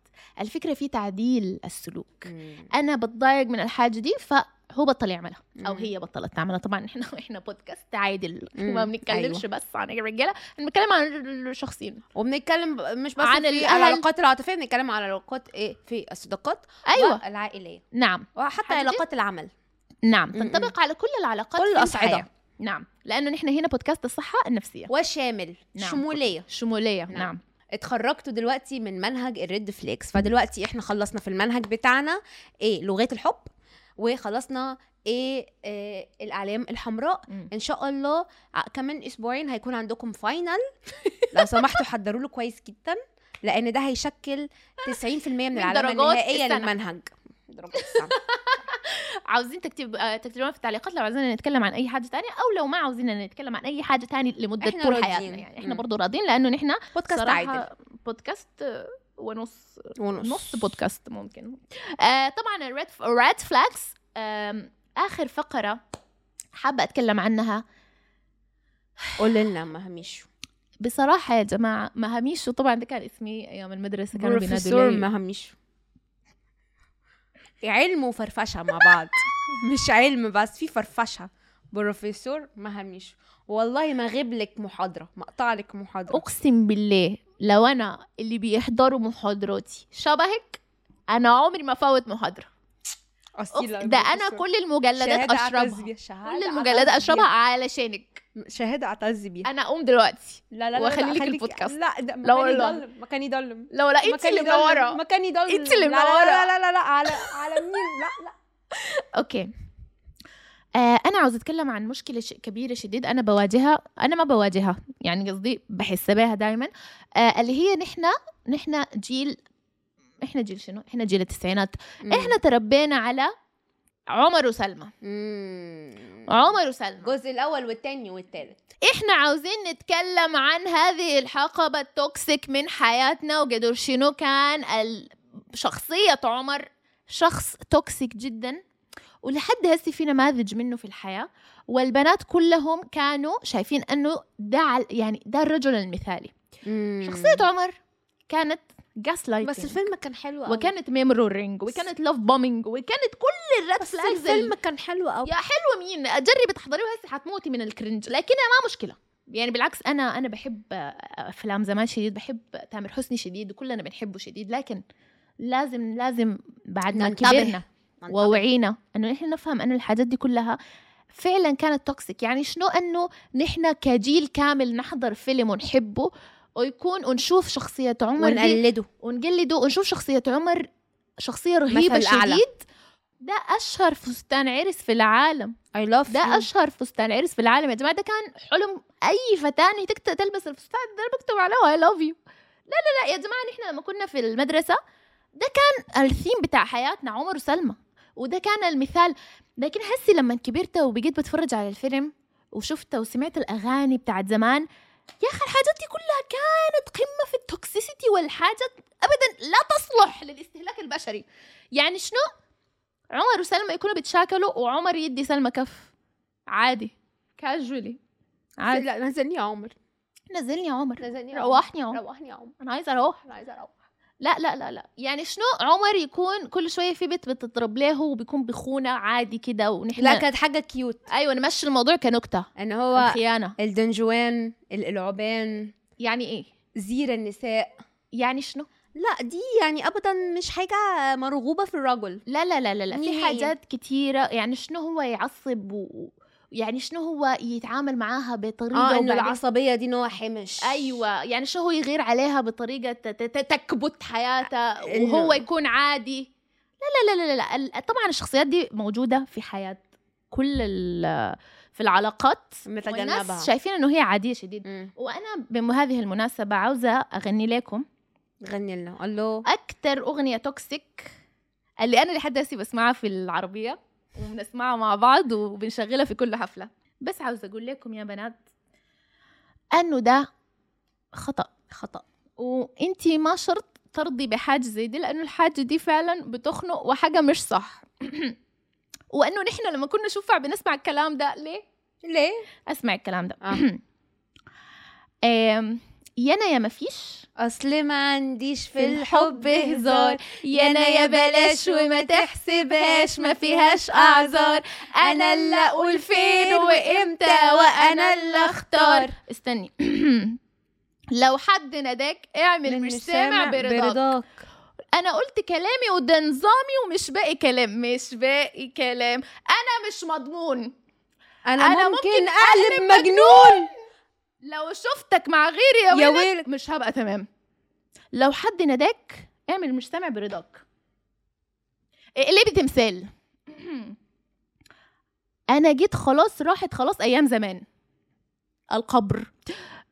A: الفكره في تعديل السلوك انا بتضايق من الحاجه دي فهو بطل يعملها او
B: مم.
A: هي بطلت تعملها طبعا احنا احنا بودكاست عادل
B: مم.
A: ما بنتكلمش أيوة. بس عن الرجاله احنا بنتكلم عن الشخصين
B: وبنتكلم ب- مش بس
A: عن
B: عن في
A: الأهل.
B: العلاقات العاطفيه بنتكلم على العلاقات ايه في الصداقات
A: ايوه
B: والعائليه
A: نعم
B: وحتى
A: حبيبتي.
B: علاقات العمل
A: نعم
B: مم.
A: تنطبق على كل العلاقات
B: كل
A: في
B: الأصعدة.
A: الحياة. نعم لانه نحن هنا بودكاست الصحه النفسيه
B: وشامل
A: نعم.
B: شموليه
A: شموليه نعم,
B: نعم.
A: نعم.
B: اتخرجتوا دلوقتي من منهج الريد فليكس فدلوقتي احنا خلصنا في المنهج بتاعنا ايه لغات الحب وخلصنا ايه آه، الاعلام الحمراء
A: مم.
B: ان شاء الله ع- كمان اسبوعين هيكون عندكم فاينل لو سمحتوا حضروا له كويس جدا لان ده هيشكل 90% من العلامه
A: درجات
B: النهائيه
A: السنة.
B: للمنهج درجات السنة.
A: عايزين تكتب آه، تكتبونا في التعليقات لو عايزين نتكلم عن اي حاجه تانية او لو ما عاوزين نتكلم عن اي حاجه تانية لمده
B: إحنا
A: طول
B: راضيين.
A: حياتنا يعني احنا
B: مم.
A: برضو راضيين لانه نحن
B: بودكاست
A: صراحة
B: عادل
A: بودكاست آه، ونص
B: ونص
A: نص بودكاست ممكن آه طبعا الريد ريد فلاكس اخر فقره حابه اتكلم عنها
B: قول لنا ما هميشو
A: بصراحه يا جماعه مهاميشو طبعا ده كان اسمي ايام المدرسه كانوا بينادوا
B: بروفيسور
A: لي
B: ما هميشو علم وفرفشه مع بعض مش علم بس في فرفشه بروفيسور ما هميشو والله ما غيب لك محاضره ما اقطع لك محاضره
A: اقسم بالله لو انا اللي بيحضروا محاضراتي شبهك انا عمري ما فوت محاضره أقسم-
B: أصيلة
A: ده انا
B: بروفيسور.
A: كل المجلدات
B: شهادة أعتز
A: اشربها
B: بيها، شهادة
A: كل
B: أعتز
A: المجلدات
B: بيها.
A: اشربها علشانك
B: شهاده اعتز بيها
A: انا اقوم دلوقتي
B: لا لا لا
A: وأخلي
B: لا،
A: لك
B: خليك-
A: البودكاست.
B: لا
A: لا
B: ده مكاني
A: والله.
B: ضلم مكاني ضلم
A: لو لقيت اللي
B: مكاني ضلم،
A: منوره
B: مكاني ضلم
A: إنت اللي
B: لا لا لا،
A: منورة.
B: لا لا لا على على مين لا لا
A: اوكي آه انا عاوز اتكلم عن مشكله ش- كبيره شديد انا بواجهها انا ما بواجهها يعني قصدي بحس بيها دائما آه اللي هي نحن نحن جيل احنا جيل شنو احنا جيل التسعينات احنا تربينا على عمر وسلمى
B: مم.
A: عمر وسلمى
B: الجزء الاول والتاني والتالت
A: احنا عاوزين نتكلم عن هذه الحقبة التوكسيك من حياتنا وقدر شنو كان ال- شخصية عمر شخص توكسيك جدا ولحد هسه في نماذج منه في الحياة والبنات كلهم كانوا شايفين انه ده عل- يعني ده الرجل المثالي شخصية عمر كانت جاس لايتنج
B: بس الفيلم كان حلو قوي
A: وكانت ميمورينج وكانت لاف بومينج وكانت كل الرد
B: بس الفيلم كان حلو قوي
A: يا حلوه مين جربي تحضريه هسه حتموتي من الكرنج لكنها ما مشكله يعني بالعكس انا انا بحب افلام زمان شديد بحب تامر حسني شديد وكلنا بنحبه شديد لكن لازم لازم بعد ما
B: ننتبه.
A: كبرنا
B: يعني
A: ووعينا انه نحن نفهم انه الحاجات دي كلها فعلا كانت توكسيك يعني شنو انه نحن كجيل كامل نحضر فيلم ونحبه ويكون ونشوف شخصية عمر دي
B: ونقلده
A: ونقلده ونشوف شخصية عمر شخصية رهيبة
B: مثل أعلى.
A: شديد ده أشهر فستان عرس في العالم
B: اي لاف
A: ده اشهر فستان عرس في العالم يا جماعه ده كان حلم اي فتاه ان هي تكت- تلبس الفستان ده اللي بكتب عليه اي لاف يو لا لا لا يا جماعه نحن لما كنا في المدرسه ده كان الثيم بتاع حياتنا عمر وسلمى وده كان المثال لكن هسي لما كبرت وبقيت بتفرج على الفيلم وشفته وسمعت الاغاني بتاعت زمان يا اخي الحاجات دي كلها كانت قمه في التوكسيسيتي والحاجات ابدا لا تصلح للاستهلاك البشري يعني شنو عمر وسلمى يكونوا بيتشاكلوا وعمر يدي سلمى كف عادي كاجولي عادي
B: لا نزلني يا عمر
A: نزلني يا عمر
B: نزلني يا عمر
A: روحني يا عمر
B: روحني يا عمر
A: انا عايزه اروح
B: انا عايزه اروح
A: لا لا لا لا يعني شنو عمر يكون كل شويه في بنت بتضرب له وبيكون بخونه عادي كده ونحن
B: لا كانت حاجه كيوت
A: ايوه نمشي الموضوع كنكته
B: ان هو
A: خيانه
B: الدنجوان الالعبان
A: يعني ايه
B: زير النساء
A: يعني شنو
B: لا دي يعني ابدا مش حاجه مرغوبه في الرجل
A: لا لا لا لا, لا. في
B: نهائي.
A: حاجات كتيرة يعني شنو هو يعصب و... يعني شنو هو يتعامل معاها بطريقة
B: اه انه
A: وبعدين-
B: العصبيه دي نوع حمش
A: أيوة يعني شنو هو يغير عليها بطريقة ت- ت- تكبت حياتها
B: إنه-
A: وهو يكون عادي لا لا لا لا, لا. ال- طبعا الشخصيات دي موجودة في حياة كل ال... في العلاقات
B: متجنبها.
A: والناس شايفين انه هي عادية شديد
B: مم.
A: وانا بهذه المناسبة عاوزة اغني لكم
B: غني لنا الله
A: اكتر اغنيه توكسيك اللي انا لحد هسه بسمعها في العربيه وبنسمعها مع بعض وبنشغلها في كل حفله بس عاوزه اقول لكم يا بنات انه ده خطا خطا وانتي ما شرط ترضي بحاجه زي دي لانه الحاجه دي فعلا بتخنق وحاجه مش صح وانه نحن لما كنا شوفها بنسمع الكلام ده ليه
B: ليه
A: اسمع الكلام ده
B: آه.
A: آم، يانا يا مفيش
B: اصل ما عنديش في الحب هزار
A: يانا يا بلاش وما تحسبهاش ما فيهاش اعذار انا اللي اقول فين وامتى وانا اللي اختار استني لو حد ناداك اعمل مش سامع برضاك انا قلت كلامي وده نظامي ومش باقي كلام مش باقي كلام انا مش مضمون أنا
B: انا, أنا
A: ممكن
B: ممكن, اقلب مجنون
A: لو شفتك مع غيري يا,
B: يا
A: ويلك,
B: ويلك.
A: مش هبقى تمام لو حد ناداك اعمل مش سامع برضاك اقلبي تمثال انا جيت خلاص راحت خلاص ايام زمان القبر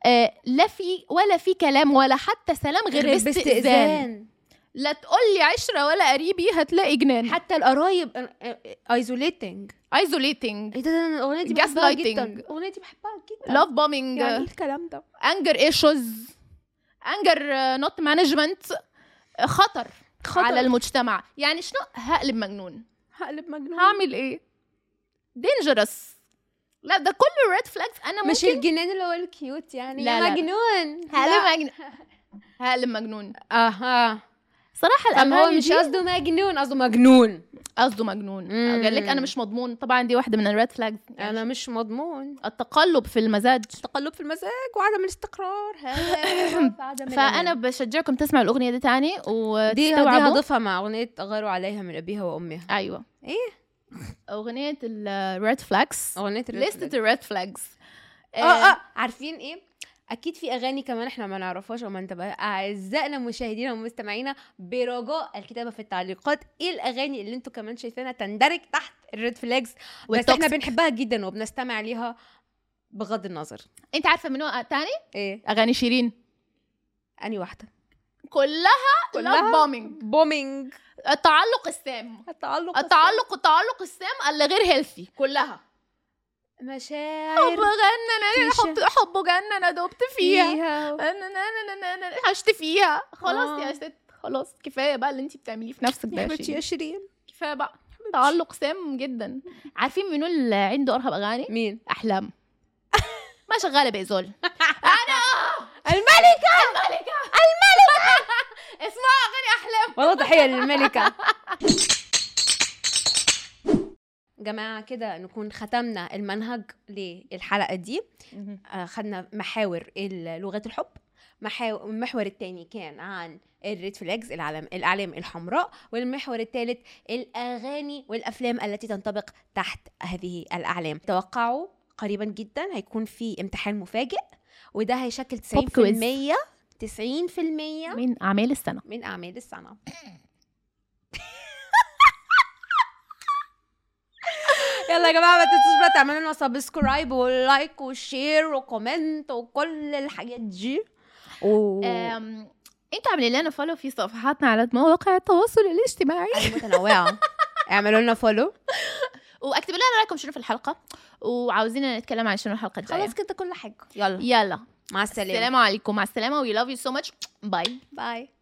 A: آه لا في ولا في كلام ولا حتى سلام غير باستئذان لا تقول لي عشره ولا قريبي هتلاقي جنان
B: حتى القرايب ايزوليتنج
A: ايزوليتنج
B: ايه ده ده أنا الاغنيه دي بحبها جدا
A: Gaslighting.
B: الاغنيه دي بحبها جدا
A: لاف بومينج
B: يعني ايه الكلام ده
A: انجر ايشوز انجر نوت مانجمنت uh, خطر
B: خطر
A: على المجتمع يعني شنو هقلب مجنون
B: هقلب مجنون
A: هعمل ايه دينجرس لا ده كله ريد فلاجز انا ممكن
B: مش الجنان اللي هو الكيوت يعني
A: لا،
B: لا
A: لا.
B: يا مجنون لا.
A: هقلب مجنون هقلب مجنون
B: اها
A: صراحه
B: طب هو
A: الامان
B: مش
A: دي
B: قصده مجنون قصده مجنون
A: قصده مجنون
B: مم.
A: قال لك انا مش مضمون طبعا دي واحده من الريد فلاجز
B: انا مش مضمون
A: التقلب في المزاج
B: تقلب في المزاج وعدم الاستقرار هذا عدم
A: فانا
B: الأمان.
A: بشجعكم تسمعوا الاغنيه دي تاني
B: دي دي
A: وتستوعبوا
B: هضيفها مع اغنيه غاروا عليها من ابيها وامها
A: ايوه
B: إيه؟
A: اغنيه الريد فلاجز
B: اغنيه الريد فلاج.
A: لستة الريد فلاجز
B: اه
A: آه،
B: اه عارفين ايه اكيد في اغاني كمان احنا ما نعرفهاش وما انتبه اعزائنا مشاهدينا ومستمعينا برجاء الكتابه في التعليقات ايه الاغاني اللي انتوا كمان شايفينها تندرج تحت الريد فلاجز بس احنا
A: والتوكسيك.
B: بنحبها جدا وبنستمع ليها بغض النظر
A: انت عارفه من وقت تاني
B: ايه
A: اغاني شيرين
B: اني واحده
A: كلها كلها
B: كلها
A: بومينج
B: بومينج
A: التعلق السام
B: التعلق
A: التعلق التعلق السام اللي غير هيلثي كلها حب
B: مشاعر
A: غنى حب
B: تيشة.
A: حب جنة انا دوبت فيها
B: فيها
A: انا انا انا انا انا عشت فيها خلاص
B: آه.
A: يا ست خلاص كفايه بقى اللي انت بتعمليه في نفسك ده
B: يا
A: يا
B: حبيبتي يا
A: شيرين.
B: شيرين
A: كفايه بقى تعلق سام جدا عارفين منو اللي عنده ارهب اغاني
B: مين
A: احلام ما شغاله بإزول
B: الملكه
A: الملكه الملكه اسمها اغاني احلام
B: والله تحيه للملكه جماعة كده نكون ختمنا المنهج للحلقة دي آه، خدنا محاور ال- لغات الحب محاو- المحور التاني كان عن الريد فلاجز العلام الاعلام الحمراء والمحور الثالث الاغاني والافلام التي تنطبق تحت هذه الاعلام توقعوا قريبا جدا هيكون في امتحان مفاجئ وده هيشكل 90% 90%
A: من اعمال السنه
B: من أعمال السنة يلا يا جماعة ما تنسوش بقى تعملوا لنا سبسكرايب ولايك وشير وكومنت وكل الحاجات دي و
A: أم... انتوا عاملين لنا فولو في صفحاتنا على مواقع التواصل الاجتماعي
B: متنوعة اعملوا لنا فولو
A: واكتبوا لنا رايكم شنو في الحلقه وعاوزين نتكلم عن شنو الحلقه الجايه
B: خلاص كده كل حاجة يلا
A: يلا
B: مع السلامة
A: السلام عليكم مع السلامه وي لاف يو سو ماتش باي
B: باي